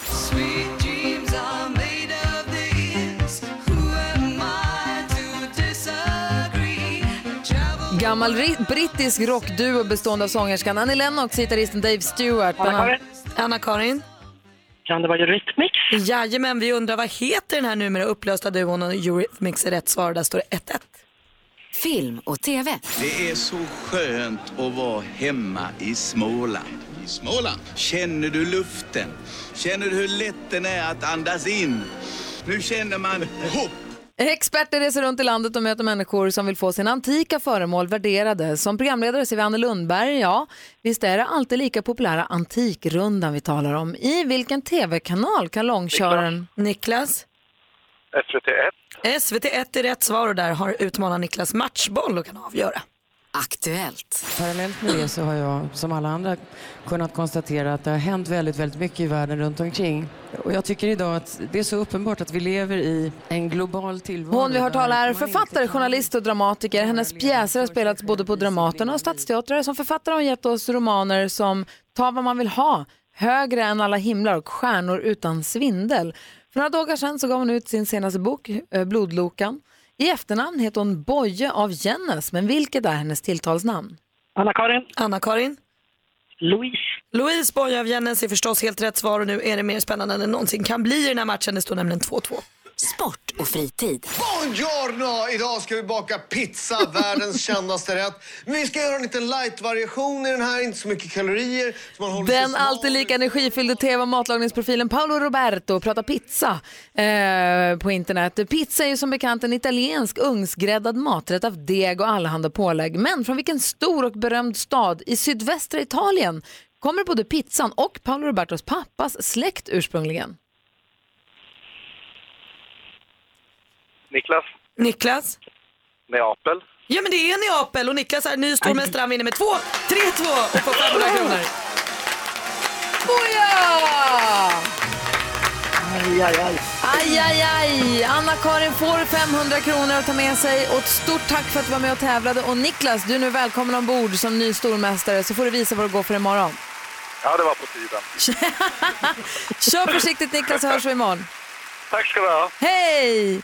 Gammal ri- brittisk rockduo bestående av sångerskan Annie Lennox, gitarristen Dave Stewart. bland annat. Anna-Karin? Kan det vara Eurythmics? Jajamän, vi undrar vad heter den här numera upplösta duon och Eurythmics är rätt svar. Där står det 1-1. Film och TV. Det är så skönt att vara hemma i Småland. I Småland. Känner du luften? Känner du hur lätt den är att andas in? Nu känner man hopp. Experter reser runt i landet och möter människor som vill få sina antika föremål värderade. Som programledare ser vi Anne Lundberg, ja. Visst är det alltid lika populära Antikrundan vi talar om. I vilken tv-kanal kan långköraren... Niklas? SVT1. SVT1 är rätt svar och där har utmanaren Niklas matchboll och kan avgöra. Aktuellt. Parallellt med det så har jag, som alla andra, kunnat konstatera att det har hänt väldigt, väldigt mycket i världen runt omkring. Och jag tycker idag att det är så uppenbart att vi lever i en global tillvaro. Hon vi hört tala är författare, journalist och dramatiker. Hennes pjäser har spelats både på Dramaten och Stadsteatrar. Som författare har hon gett oss romaner som Ta vad man vill ha, Högre än alla himlar och Stjärnor utan svindel. För några dagar sedan så gav hon ut sin senaste bok, eh, Blodlokan. I efternamn heter hon Boje av Jennes, men vilket är hennes tilltalsnamn? Anna-Karin. Anna-Karin. Louise. Louise Boye av Jennes är förstås helt rätt svar och nu är det mer spännande än det någonsin kan bli i den här matchen. Det står nämligen 2-2. Sport och fritid. Buongiorno! Idag ska vi baka pizza, världens kändaste rätt. Men vi ska göra en liten light-variation i den här, inte så mycket kalorier. Så man håller sig Den alltid lika energifyllde tv och matlagningsprofilen Paolo Roberto pratar pizza eh, på internet. Pizza är ju som bekant en italiensk ugnsgräddad maträtt av deg och allehanda pålägg. Men från vilken stor och berömd stad i sydvästra Italien kommer både pizzan och Paolo Robertos pappas släkt ursprungligen? Niklas Niklas? Neapel. Ja men det är Neapel och Niklas är ny stormästare. Han vinner med 2-3-2 och får 500 kronor. Boja! Aj, aj, aj. Aj, aj, aj! Anna-Karin får 500 kronor att ta med sig och ett stort tack för att du var med och tävlade. Och Niklas, du är nu välkommen ombord som ny stormästare så får du visa vad det går för imorgon. Ja, det var på tiden. Kör försiktigt Niklas så hörs vi imorgon. Tack ska du ha. Hej!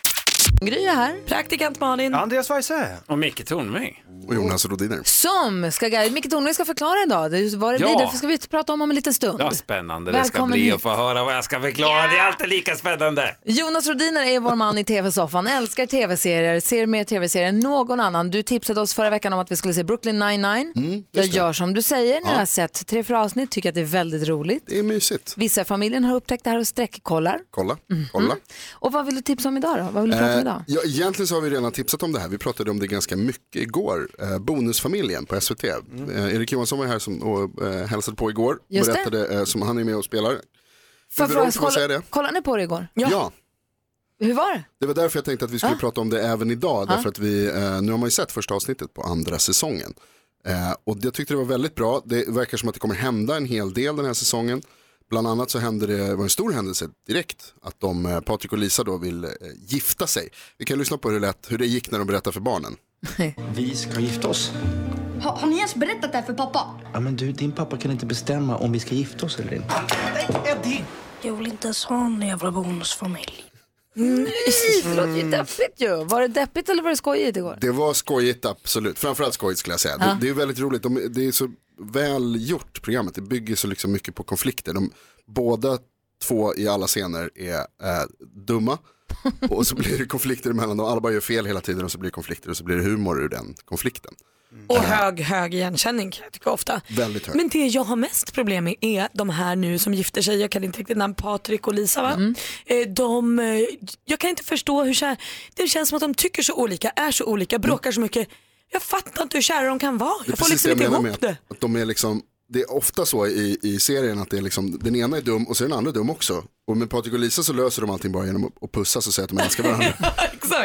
Gry är här. Praktikant Malin. Andreas Weise. Och Micke Tornving. Och Jonas Rodiner. Som ska guida, Micke Tornving ska förklara idag det är vad det Ja. blir. Därför ska vi prata om om en liten stund. Ja, spännande det ska Välkommen bli hit. att få höra vad jag ska förklara. Det är alltid lika spännande. Jonas Rodiner är vår man i tv-soffan, älskar tv-serier, ser mer tv-serier än någon annan. Du tipsade oss förra veckan om att vi skulle se Brooklyn 99. Mm, Jag just det. gör som du säger när Ja. jag har sett tre, fyra avsnitt, tycker att det är väldigt roligt. Det är mysigt. Vissa i familjen har upptäckt det här och sträckkollar. Kolla, kolla. Och vad vill du tipsa om idag då? Mhm. Vad vill du prata om Eh, idag? ja, egentligen så har vi redan tipsat om det här. Vi pratade om det ganska mycket igår. Eh, bonusfamiljen på SVT. Eh, Erik Johansson var här som, och eh, hälsade på igår. Just det. berättade eh, som han är med och spelar. Får jag Hur fråga, långt får man säga kolla- det? Kollade ni på det igår? ja. Hur var det? Det var därför jag tänkte att vi skulle Ja. prata om det även idag. Ja. Därför att vi, eh, nu har man ju sett första avsnittet på andra säsongen. Eh, och jag tyckte det var väldigt bra. Det verkar som att det kommer hända en hel del den här säsongen. Bland annat så hände det, det var en stor händelse direkt att de, eh, Patrik och Lisa då vill eh, gifta sig. Vi kan lyssna på hur det, lät, hur det gick när de berättade för barnen. Vi ska gifta oss. Ha, har ni ens berättat det här för pappa? Ja, men du, din pappa kan inte bestämma om vi ska gifta oss eller inte. Eddie! Jag vill inte ens ha en jävla bonusfamilj. Nej, förlåt, det är deppigt ju. Var det deppigt eller var det skojigt igår? Det var skojigt, absolut. Framförallt skojigt skulle jag säga. Ja. Det, det är väldigt roligt. De, det är så väl gjort programmet. Det bygger så liksom mycket på konflikter. De, båda två i alla scener är eh, dumma. Och så blir det konflikter emellan dem. Alla bara gör fel hela tiden och så blir det konflikter och så blir det humor ur den konflikten. Och hög, hög igenkänning kan jag tycka ofta. Väldigt högt. Men det jag har mest problem med är de här nu som gifter sig, jag kan inte riktigt namn, Patrik och Lisa va? Eh, De, eh, jag kan inte förstå hur kär, det känns som att de tycker så olika, är så olika, bråkar så mycket. Jag fattar inte hur kära de kan vara, jag får liksom inte ihop med det. att, att de är liksom, det är ofta så i, i serien att det är liksom, den ena är dum och så är den andra dum också. Och med Patrik och Lisa så löser de allting bara genom att- att pussas och säga att de älskar varandra.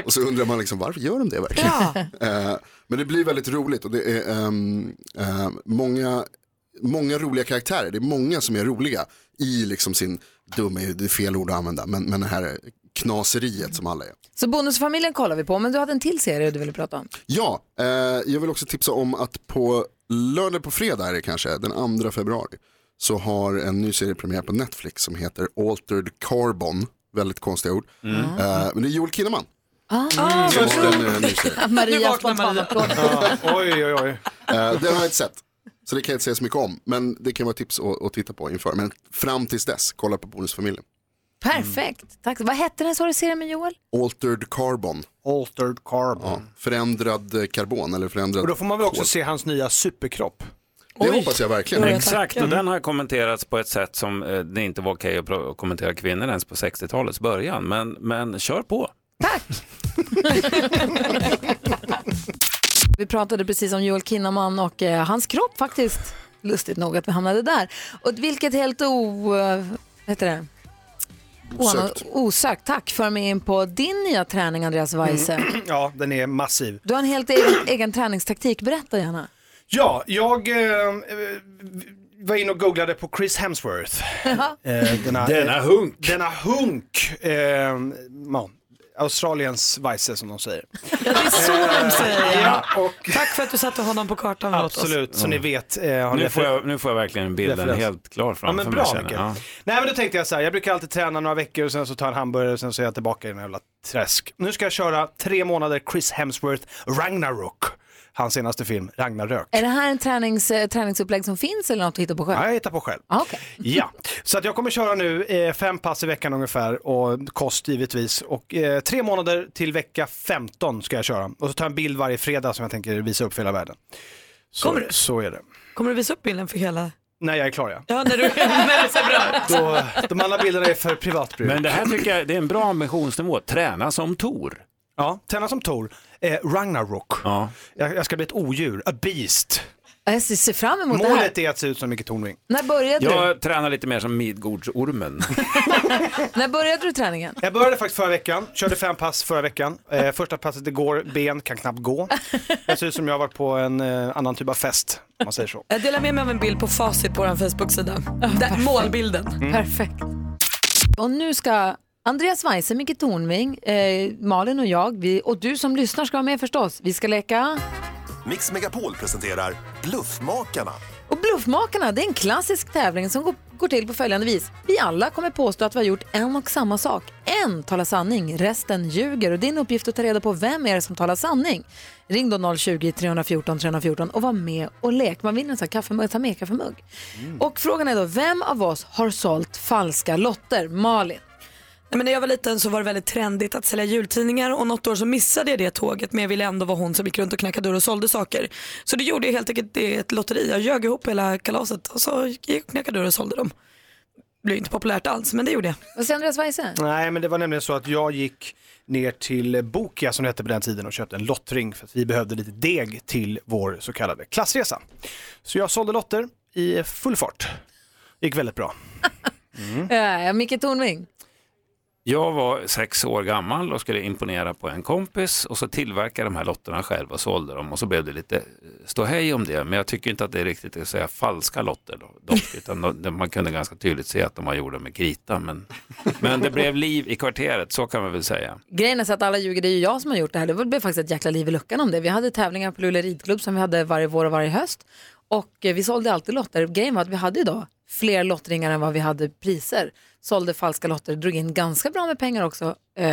Och så undrar man liksom, varför gör de det verkligen? Eh, men det blir väldigt roligt och det är ehm, ehm, många, många roliga karaktärer. Det är många som är roliga i liksom sin, dum är ju det är fel ord att använda, men, men det här knaseriet som alla är. Så Bonusfamiljen kollar vi på, men du hade en till serie du ville prata om. Ja, eh, jag vill också tipsa om att på lördag på fredag är det kanske, den 2 februari, så har en ny serie premiär på Netflix som heter Altered Carbon, väldigt konstiga ord. Eh, men det är Joel Kinnaman. Mm. Ah, Som har en, eh, ny serie. Maria spontanapplåd. Oj, oj, oj. Den Eh, har jag inte sett. Så det kan jag inte säga så mycket om. Men det kan vara tips att, att titta på inför. Men fram tills dess, kolla på Bonusfamiljen. Perfekt. Tack. Vad hette den, sa du, serien med Joel? Altered Carbon. Altered Carbon. Ja, förändrad eh, karbon eller förändrad Och då får man väl också kol. se hans nya superkropp. Det hoppas jag verkligen. Exakt, och den har kommenterats på ett sätt som eh, det inte var okej att pro- att kommentera kvinnor ens på 60-talets början. Men, men kör på. Vi pratade precis om Joel Kinnaman och eh, hans kropp faktiskt. Lustigt nog att vi hamnade där. Och vilket helt o... eh, vad heter det? Osökt. Oan- Osökt, tack. För mig in på din nya träning, Andreas Weise. Mm. Mm. Ja, den är massiv. Du har en helt egen, egen träningstaktik, berätta gärna. Ja, jag eh, var inne och googlade på Chris Hemsworth. Eh, Denna eh, hunk. Denna hunk. Eh, ja, Australiens vice som de säger. Ja, det är så de säger. Ja, Tack för att du satte honom på kartan åt oss. Absolut, så Mm. ni vet. Eh, har nu, ni- får jag, nu får jag verkligen bilden Referens. helt klar Ja, framför men mig. bra känner Micke. jag. Nej men då tänkte jag så här, jag brukar alltid träna några veckor och sen så tar jag en hamburgare och sen så är jag tillbaka i den här jävla träsk. Nu ska jag köra tre månader Chris Hemsworth Ragnarok. Hans senaste film, Ragnarök. Är det här en tränings, eh, träningsupplägg som finns eller något du hittar på själv? Ja, jag hittar på själv. Ah, okej. Ja, så att jag kommer köra nu eh, fem pass i veckan ungefär och kost givetvis. Och eh, tre månader till vecka 15 ska jag köra. Och så tar jag en bild varje fredag som jag tänker visa upp för hela världen. Så, Kommer du? så är det. Kommer du visa upp bilden för hela? När jag är klar ja. Ja, när du, när det ser bra ut. Då, de andra bilderna är för privat bruk. Men det här tycker jag det är en bra ambitionsnivå. Träna som Tor. Ja, träna som Tor. Eh, Ragnarok. Ja. Jag, jag ska bli ett odjur, a beast. Jag ser- ser fram emot det här. Målet är att se ut som Micke Tornving. När började du? Jag tränar lite mer som Midgårdsormen. När började du träningen? Jag började faktiskt förra veckan, körde fem pass förra veckan. Eh, första passet igår, ben kan knappt gå. Jag ser ut som jag har varit på en eh, annan typ av fest, om man säger så. Jag delar Eh, med mig av en bild på facit på vår Facebook-sida. Där, målbilden. Perfekt. Och nu ska Andreas Weise, Micke Tornving, eh, Malin och jag, vi, och du som lyssnar ska vara med förstås. Vi ska leka... Mix Megapol presenterar Bluffmakarna. Och Bluffmakarna, det är en klassisk tävling som går, går till på följande vis. Vi alla kommer påstå att vi har gjort en och samma sak. En talar sanning, resten ljuger. Och din uppgift är att ta reda på vem är det som talar sanning. Ring då 020-314 314 och var med och lek. Man vinner en sån här kaffemugg, ta med kaffemugg. Mm. Mm. Och frågan är då, vem av oss har sålt falska lotter? Malin. Nej, men när jag var liten så var det väldigt trendigt att sälja jultidningar och något år så missade jag det tåget men jag ville ändå vara hon som gick runt och knackade dörr och sålde saker. Så det gjorde jag helt enkelt det är ett lotteri. Jag ljög ihop hela kalaset och så gick jag och knackade dörr och sålde dem. Det blev inte populärt alls men det gjorde jag. Vad säger Andreas Weise? Nej, men det var nämligen så att jag gick ner till Bokia som det hette på den tiden och köpte en lottring för att vi behövde lite deg till vår så kallade klassresa. Så jag sålde lotter i full fart. Gick väldigt bra. Eh, Micke Tornving. Jag var sex år gammal och skulle imponera på en kompis och så tillverkade de här lotterna själv och sålde dem och så blev det lite eh, ståhej om det. Men jag tycker inte att det är riktigt att säga falska lotter då, dock, utan de- man kunde ganska tydligt se att de var gjorda med krita. Men, men det blev liv i kvarteret, så kan man väl säga. Grejen är så att alla ljuger, det är ju jag som har gjort det här. Det blev faktiskt ett jäkla liv i luckan om det. Vi hade tävlingar på Luleå ridklubb som vi hade varje vår och varje höst. Och eh, vi sålde alltid lotter. Grejen var att vi hade idag fler lottringar än vad vi hade priser. Sålde falska lotter, drog in ganska bra med pengar också. Eh,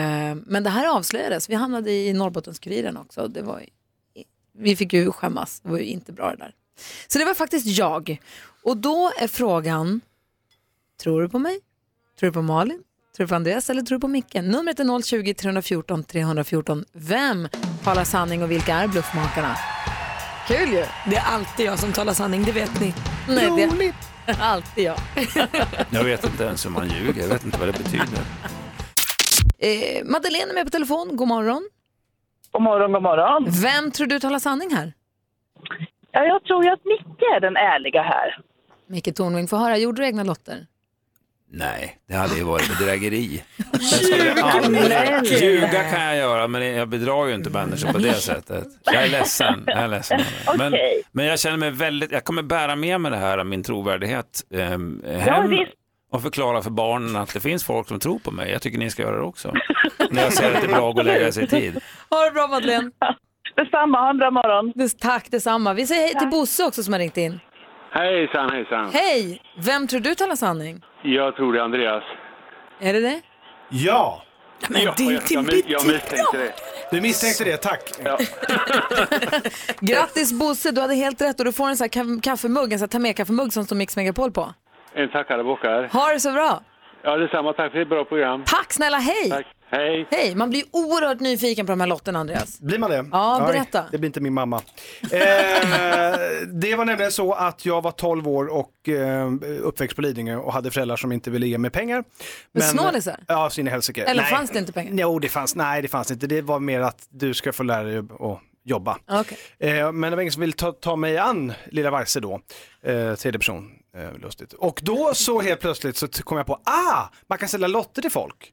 Men det här avslöjades. Vi hamnade i Norrbottenskuriren också. Det var, vi fick ju skämmas. Det var ju inte bra det där. Så det var faktiskt jag. Och då är frågan, tror du på mig? Tror du på Malin? Tror du på Andreas eller tror du på Micke? Numret är 020-314 314. Vem talar sanning och vilka är bluffmakarna? Kul ju! Det är alltid jag som talar sanning, det vet ni. Nej, det är alltid jag. Jag vet inte ens hur man ljuger, jag vet inte vad det betyder. Eh, Madeleine är med på telefon. God morgon. God morgon, god morgon. Vem tror du talar sanning här? Ja, jag tror ju att Micke är den ärliga här. Micke Tornving, får höra. Gjorde du egna lotter? Nej, det hade ju varit bedrägeri. Jag skulle aldrig- Ljuger! Ljuga kan jag göra, men jag bedrar ju inte människor på det sättet. Jag är ledsen. Jag är ledsen. Men, Okej. men jag känner mig väldigt, jag kommer bära med mig det här, min trovärdighet eh, hem visst. och förklara för barnen att det finns folk som tror på mig. Jag tycker ni ska göra det också. När jag säger att det är bra att gå och lägga sig i tid. Ha det bra Madeleine. Detsamma, ha en bra morgon. Des, tack detsamma. Vi säger hej till Bosse också som har ringt in. Hejsan, hejsan. Hej! Vem tror du talar sanning? Jag tror det är Andreas. Är det det? Ja! men det är inte jag, mitt jag misstänkte det. Du misstänkte det, tack. Grattis Bosse, du hade helt rätt och du får en sån här ka- kaffemugg, en sån här ta med-kaffemugg som står Mix Megapol på. En tackare bockar. Ha det så bra! Ja, detsamma. Tack för ett bra program. Tack snälla, hej! Tack. Hej. Hej, man blir ju oerhört nyfiken på de här lotterna Andreas. Blir man det? Ja, Oj, berätta. det blir inte min mamma. Eh, det var nämligen så att jag var 12 år och eh, uppväxt på Lidingö och hade föräldrar som inte ville ge mig pengar. Men snålisar? Ja, så in i helsike. Eller fanns det inte pengar? Jo, det fanns, nej det fanns inte. Det var mer att du ska få lära dig att jobba. Okej. Eh, men det var ingen som ville ta, ta mig an lilla Varse då, eh, tredje person, eh, lustigt. Och då så helt plötsligt så t- kom jag på, ah, man kan sälja lotter till folk.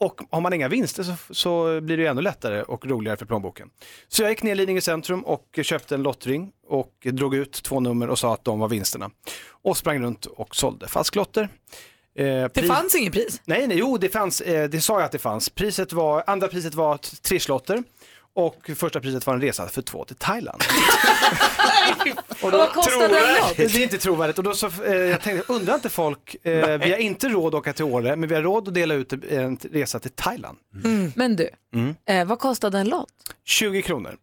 Och har man inga vinster så, så blir det ju ännu lättare och roligare för plånboken. Så jag gick ner i Lidingö centrum och köpte en lottring och drog ut två nummer och sa att de var vinsterna. Och sprang runt och sålde falsklotter. Eh, pri- fanns ingen pris? Nej, nej, jo det fanns, eh, det sa jag att det fanns. Priset var, andra priset var t- trisslotter och första priset var en resa för två till Thailand. Och vad kostade en lott? Det är inte trovärdigt. Och då så, eh, jag tänkte, undrar inte folk, eh, vi har inte råd att åka till Åre, men vi har råd att dela ut en t- resa till Thailand. Mm. Men du, eh, vad kostade en lott? 20 kronor.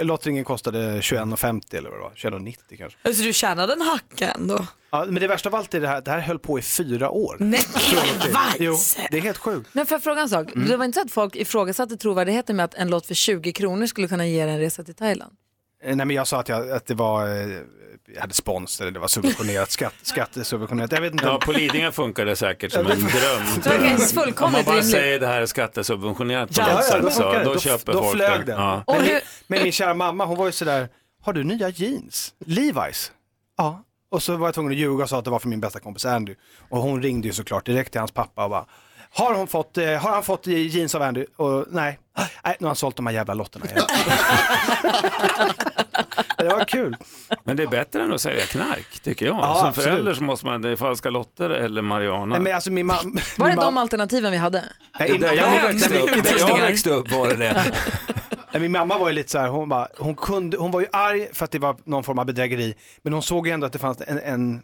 Lottringen kostade 21,50 eller vad det var, 21,90 kanske. Alltså du tjänade en hacka ändå. Ja, men det värsta av allt är det här, det här höll på i fyra år. Nej, Från och till. Jo, det är helt sjukt. Men får jag fråga en sak? Mm. Det var inte så att folk ifrågasatte trovärdigheten med att en lott för 20 kronor skulle kunna ge er en resa till Thailand? Eh, Nej men jag sa att, jag, att det var, eh, jag hade spons eller det var subventionerat, skatt, skattesubventionerat. Jag vet inte. Ja, på Lidingö funkar det säkert som Ja, en det- dröm. Det verkar fullkomligt Om man bara rimligt. säger det här är skattesubventionerat på Ja, något ja, då sätt, så, funkar det. då, Då- köper då folk flög det. den. Ja. Men, min, men min kära mamma, hon var ju sådär, har du nya jeans? Levi's? Ja. Och så var jag tvungen att ljuga och sa att det var för min bästa kompis Andy. Och hon ringde ju såklart direkt till hans pappa och bara, har, hon fått, eh, har han fått eh, jeans av Andy? Och nej, nej nu har han sålt de här jävla lotterna igen. det var kul. Men det är bättre än att säga knark, tycker jag. Ja, Som absolut. förälder så måste man, det är falska lotter eller marijuana. Nej, men alltså min mamma... Var det de alternativen vi hade? Det där jag växte upp- det där jag växte upp var det det. Nej, min mamma var ju lite så här, hon, bara, hon, kunde, hon var ju arg för att det var någon form av bedrägeri, men hon såg ju ändå att det fanns en, en, eh,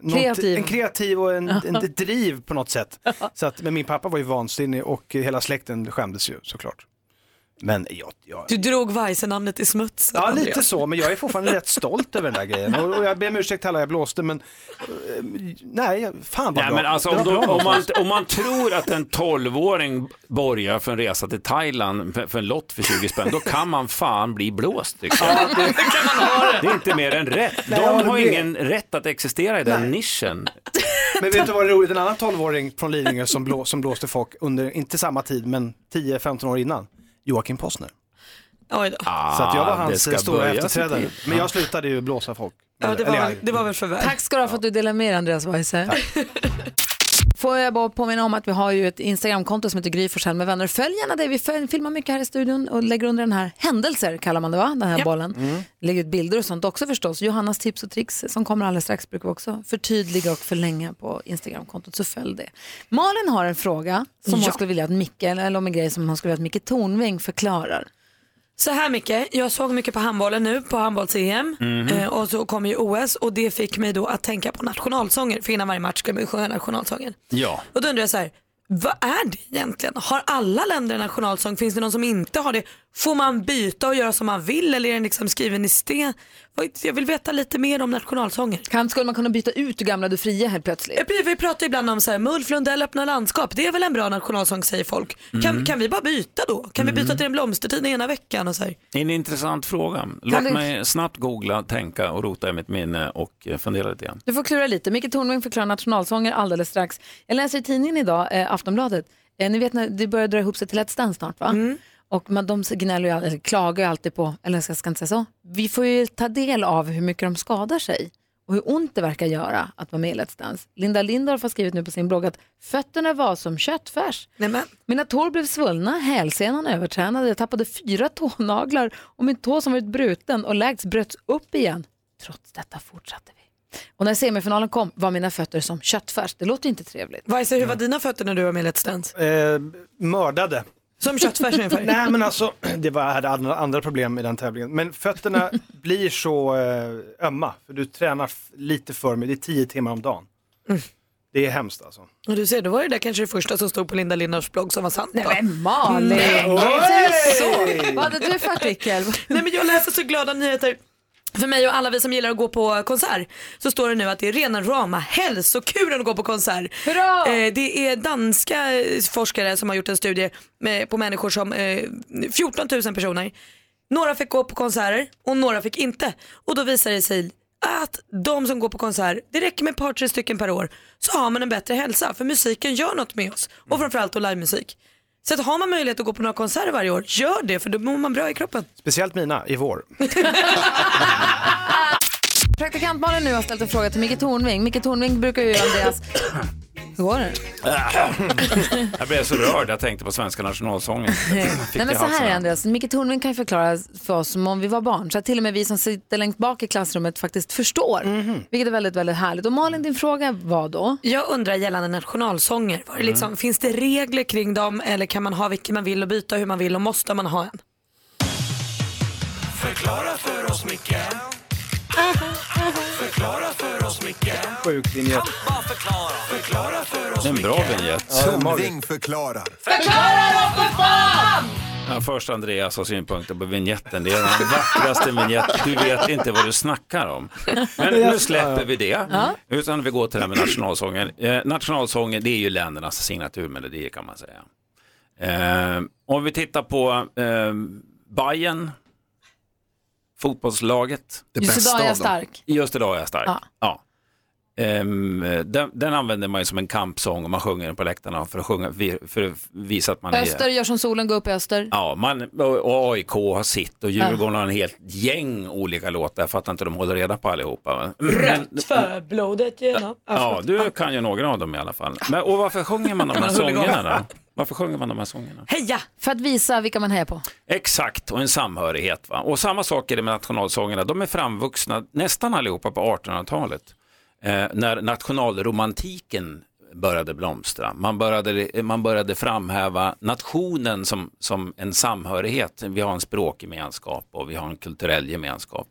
någon- Kreativ. en kreativ och en, en, ett driv på något sätt. Så att, men min pappa var ju vansinnig och hela släkten skämdes ju såklart. Men jag, jag Du drog Weise-namnet i smutsen. Ja, Andreas. lite så, men jag är fortfarande rätt stolt över den där grejen. Och, och jag ber om ursäkt till alla jag blåste, men eh, nej, fan vad Nej, bra. men alltså, Det om, var de, bra om, man, någonstans. om man tror att en 12-åring borgar för en resa till Thailand för, för en lott för 20 spänn, då kan man fan bli blåst. Tycker jag. Det är inte mer än rätt. Nej, jag De håller har med. ingen rätt att existera i den nischen. Men vet du vad det är roligt? En annan 12-åring från Lidingö som, blå, som blåste folk under, inte samma tid, men 10-15 år innan, Joakim Posner. Oj då. Så att jag var Ah, det hans ska stora börja efterträdare. så tidigt. Men jag slutade ju blåsa folk. Ja, det, var, Eller, väl- det var väl förvärv. Tack ska du ha för att du delade med dig Andreas Weise. Får jag bara påminna om att vi har ju ett Instagramkonto som heter Gry Forssell med vänner. Följ gärna det. Vi föl- filmar mycket här i studion och lägger under den här händelser kallar man det va? Den här bollen. Lägger ut bilder och sånt också förstås. Johannas tips och tricks som kommer alldeles strax brukar vi också förtydliga och förlänga på Instagramkontot så följ det. Malin har en fråga som hon Ja. skulle vilja att Micke, eller om en grej som hon skulle vilja att Micke Tornving förklarar. Så här Micke, jag såg mycket på handbollen nu på handbolls-EM Mhm. eh, och så kom ju OS och det fick mig då att tänka på nationalsånger för innan varje match ska man sjunga nationalsången. Ja. Och då undrar jag så här, vad är det egentligen? Har alla länder en nationalsång? Finns det någon som inte har det? Får man byta och göra som man vill eller är den liksom skriven i sten? Vad- Jag vill veta lite mer om nationalsånger. Kan, skulle man kunna byta ut Du gamla, du fria helt plötsligt. Ja, precis, Vi pratar ju ibland om så här, Mulf Lundell öppna landskap, det är väl en bra nationalsång säger folk. Kan, Mm. kan vi bara byta då? Kan vi Mm. byta till en blomstertid ena veckan och så här? En intressant fråga. Låt du- mig snabbt googla, tänka och rota i mitt minne och eh, fundera lite grann. Du får klura lite. Micke Tornving förklarar nationalsånger alldeles strax. Jag läser i tidningen idag, eh, Aftonbladet. Eh, ni vet när det börjar dra ihop sig till Let's Dance snart va? Och man, de gnäller ju, all- eller klagar ju alltid på, eller jag ska inte säga så, vi får ju ta del av hur mycket de skadar sig och hur ont det verkar göra att vara med i Let's Dance. Linda Lindorff har skrivit nu på sin blogg att fötterna var som köttfärs. Mina tår blev svullna, hälsenan övertränade, jag tappade fyra tånaglar och min tå som varit bruten och lägst bröts upp igen. Trots detta fortsatte vi. Och när semifinalen kom var mina fötter som köttfärs. Det låter ju inte trevligt. Vajse, hur var dina fötter när du var med i Let's Dance? Eh, mördade. Som köttfärs ungefär? Nej men alltså, det var, jag hade andra, andra problem i den tävlingen. Men fötterna blir så eh, ömma, för du tränar f- lite för mycket, det är tio timmar om dagen. Mm. Det är hemskt alltså. Och du ser, då var det där kanske det första som stod på Linda Lindorffs blogg som var sant. Nej men Malin! Oj! Vad hade du för artikel? Nej men jag läser så glada nyheter. För mig och alla vi som gillar att gå på konsert så står det nu att det är rena rama hälsokuren att gå på konsert. Eh, det är danska eh, forskare som har gjort en studie med, på människor som, eh, 14 000 personer. Några fick gå på konserter och några fick inte. Och då visar det sig att de som går på konsert, det räcker med ett par tre stycken per år så har man en bättre hälsa för musiken gör något med oss och framförallt då livemusik. Så att har man möjlighet att gå på några konserter varje år, gör det för då mår man bra i kroppen. Speciellt mina i vår. Praktikant Malin nu har ställt en fråga till Micke Tornving. Micke Tornving brukar ju göra deras... Hur går det? jag blev så rörd, jag tänkte på svenska nationalsången. Fick Nej, det i men så halsen. här är Andreas, Micke Tornving kan ju förklara för oss som om vi var barn, så att till och med vi som sitter längst bak i klassrummet faktiskt förstår, Mhm. vilket är väldigt, väldigt härligt. Och Malin, din fråga var då? Jag undrar gällande nationalsånger, var det Mm. liksom, finns det regler kring dem eller kan man ha vilken man vill och byta hur man vill och måste man ha en? Förklara för oss, Micke. Förklara för oss, Micke. Sjuk linje. Förklara för Det är en bra vignett. Tornving förklarar. Ja, först Andreas har synpunkter på vignetten. Det är den vackraste vignett. Du vet inte vad du snackar om. Men nu släpper vi det. Ja. Utan vi går till det här med nationalsången. Eh, nationalsången det är ju ländernas signaturmelodier kan man säga. Eh, om vi tittar på eh, Bayern, fotbollslaget. Det Just bästa idag är jag av dem. stark. Just idag är jag stark. Ja. Ja. Ehm, den, den använder man ju som en kampsång och man sjunger den på läktarna för att, sjunga, för att visa att man är... Öster gör som solen, går upp i öster. Ja, man, och AIK har sitt och Djurgården har en helt gäng olika låtar. Jag fattar inte hur de håller reda på allihopa. va? Men, För blodet genom... ja, du kan ju några av dem i alla fall. Men, och varför sjunger man de här Man håller igång. sångerna då? Varför sjunger man de här sångerna? Heja! För att visa vilka man hejar på. Exakt, och en samhörighet. Va? Och samma sak är det med nationalsångerna. De är framvuxna nästan allihopa på 1800-talet. Eh, när nationalromantiken började blomstra. Man började, man började framhäva nationen som, som en samhörighet. Vi har en språkgemenskap och vi har en kulturell gemenskap.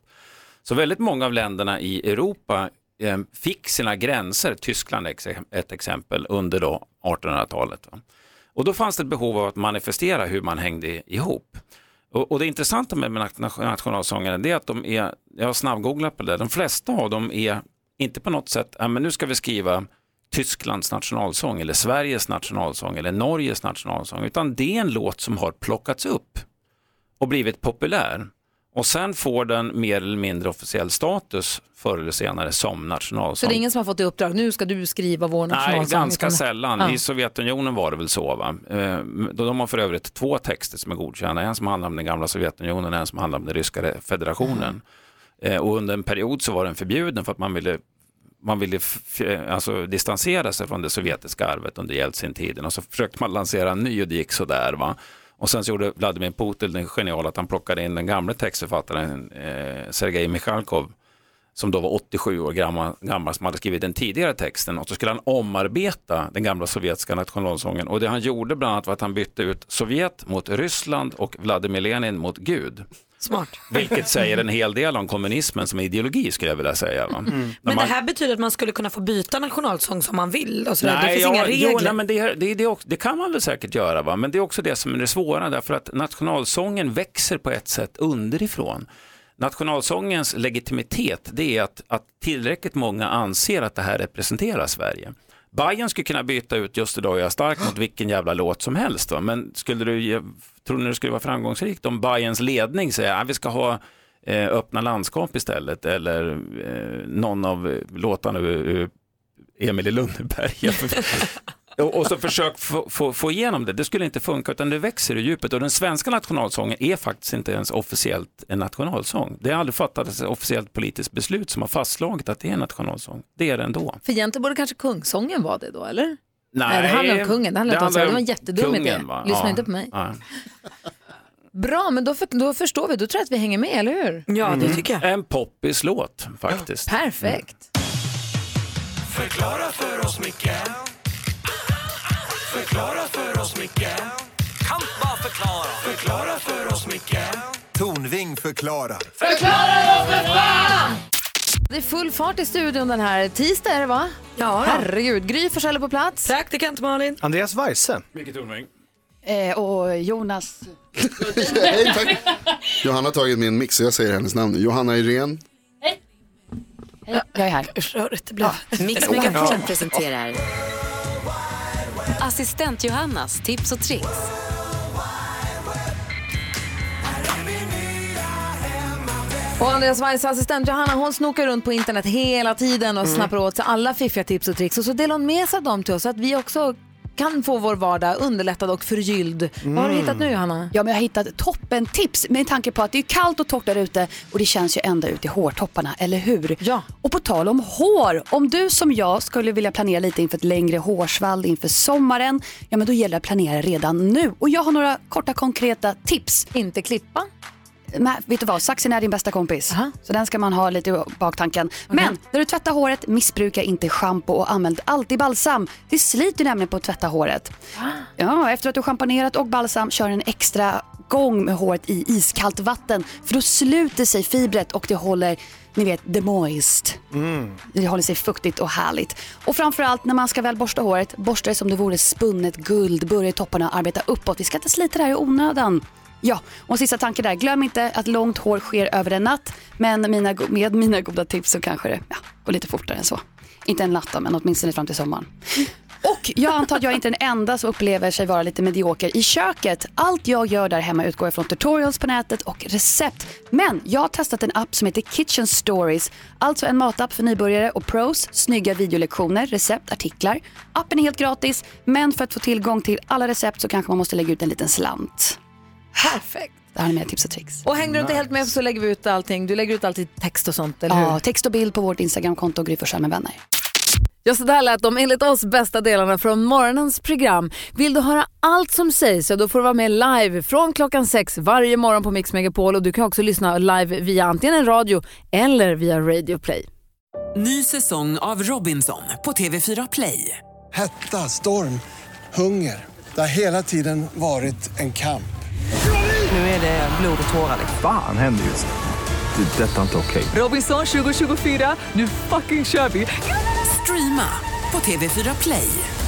Så väldigt många av länderna i Europa eh, fick sina gränser, Tyskland är ex- ett exempel, under då 1800-talet. Va? Och då fanns det ett behov av att manifestera hur man hängde ihop. Och, och det intressanta med nat- nat- nationalsångerna det är att de är, jag har snabbgooglat på det, de flesta av dem är inte på något sätt, "Ja, men nu ska vi skriva Tysklands nationalsång eller Sveriges nationalsång eller Norges nationalsång, utan det är en låt som har plockats upp och blivit populär. Och sen får den mer eller mindre officiell status förr eller senare som Så nationalsång. det är ingen som har fått i uppdrag, nu ska du skriva vår Nej, nationalsång. ganska utan- sällan. Ja. I Sovjetunionen var det väl så. Va? Eh, då De har för övrigt två texter som är godkända. En som handlar om den gamla Sovjetunionen och en som Mm. handlar om den ryska re- federationen. Eh, Och under en period så var den förbjuden för att man ville man ville f- f- alltså, distansera sig från det sovjetiska arvet under Jeltsin-tiden och så försökte man lansera en ny och det gick sådär. Va? Och sen så gjorde Vladimir Putin det geniala att han plockade in den gamle textförfattaren eh, Sergej Michalkov som då var 87 år gammal, gammal som hade skrivit den tidigare texten och så skulle han omarbeta den gamla sovjetiska nationalsången och det han gjorde bland annat var att han bytte ut Sovjet mot Ryssland och Vladimir Lenin mot Gud. Smart. Vilket säger en hel del om kommunismen som ideologi skulle jag vilja säga. Va? När Mm. Men man- det här betyder att man skulle kunna få byta nationalsång som man vill? Och sådär. Nej, det finns ja, inga regler? Jo, nej, men det, det, det, också, det kan man väl säkert göra, va? men det är också det som är det svåra, därför att nationalsången växer på ett sätt underifrån. Nationalsångens legitimitet det är att, att tillräckligt många anser att det här representerar Sverige. Bayern skulle kunna byta ut Just idag är jag stark mot vilken jävla låt som helst. Va? Men skulle du, ge- tror ni det skulle vara framgångsrikt om Bayerns ledning säger att vi ska ha eh, öppna landskap istället eller eh, någon av eh, låtarna ur, ur Emil i Lönneberga. och, och så försök få, få, få igenom det. Det skulle inte funka utan det växer i djupet och den svenska nationalsången är faktiskt inte ens officiellt en nationalsång. Det har aldrig fattats ett officiellt politiskt beslut som har fastslagit att det är en nationalsång. Det är det ändå. För egentligen borde kanske kungsången vara det då, eller? Nej, det handlar om kungen. Det handlar inte om Sverige. Det var en jättedum idé. va? Lyssna Ja, inte på mig. nej. Bra, men då, för, då förstår vi. Då tror jag att vi hänger med, eller hur? Mm. En poppislåt faktiskt. Perfekt. Förklara för oss, Micke Förklara för oss, Micke Kan bara förklara Förklara för oss, Micke Tornving förklarar. Förklara då för fan! Det är full fart i studion den här tisdag är det va? Ja. Herregud, Gry Forssell är på plats. Praktikant Malin. Andreas Weise. Vilket ordning. Eh, och Jonas. Johanna har tagit min mix, så jag säger hennes namn. Johanna Irene. Hej, jag är här. Rörigt det blev. Mix Megapol presenterar Assistent Johannas tips och tricks. Och Andreas Weiss assistent Johanna hon snokar runt på internet hela tiden och snappar åt sig alla fiffiga tips och tricks och så delar hon med sig av dem till oss så att vi också kan få vår vardag underlättad och förgylld. Vad har du hittat nu Johanna? Ja, men jag har hittat toppen tips med tanke på att det är kallt och torrt där ute och det känns ju ända ut i hårtopparna, eller hur? Ja. Och på tal om hår, om du som jag skulle vilja planera lite inför ett längre hårsvall inför sommaren, ja men då gäller det att planera redan nu. Och jag har några korta konkreta tips. Inte klippa? Nej, vet du vad, saxen är din bästa kompis. Så den ska man ha lite i baktanken. Men när du tvättar håret, missbruka inte schampo och använd alltid balsam. Det sliter nämligen på att tvätta håret. Ja, efter att du schamponerat och balsam kör en extra gång med håret i iskallt vatten för då sluter sig fibret och det håller, ni vet, the moist. Det håller sig fuktigt och härligt. Och framförallt när man ska väl borsta håret, borsta det som det vore spunnet guld. Börja i topparna och arbeta uppåt. Vi ska inte slita det här i onödan. Ja, och sista tanke där. Glöm inte att långt hår sker över en natt. Men mina, go- med mina goda tips så kanske det ja, går lite fortare än så. Inte en natt då, men åtminstone fram till sommaren. Och jag antar att jag är inte den enda som upplever sig vara lite medioker i köket. Allt jag gör där hemma utgår från tutorials på nätet och recept. Men jag har testat en app som heter Kitchen Stories. Alltså en matapp för nybörjare och pros. Snygga videolektioner, recept, artiklar. Appen är helt gratis, men för att få tillgång till alla recept så kanske man måste lägga ut en liten slant. Perfekt. Det här är mina tips och tricks. Och hänger du inte helt med så lägger vi ut allting. Du lägger ut alltid text och sånt, eller hur? Ja, text och bild på vårt Instagramkonto Gry Forssell med vänner. Ja, så där lät de enligt oss bästa delarna från morgonens program. Vill du höra allt som sägs så då får du vara med live från klockan sex varje morgon på Mix Megapol och du kan också lyssna live via antingen en radio eller via Radio Play. Ny säsong av Robinson på TV4 Play. Hetta, storm, hunger. Det har hela tiden varit en kamp. Nu är det blod och tårar. liksom. Fan händer just nu. Det. är Detta är inte okej. Robinson 2024, nu fucking kör vi! Streama på TV4 Play.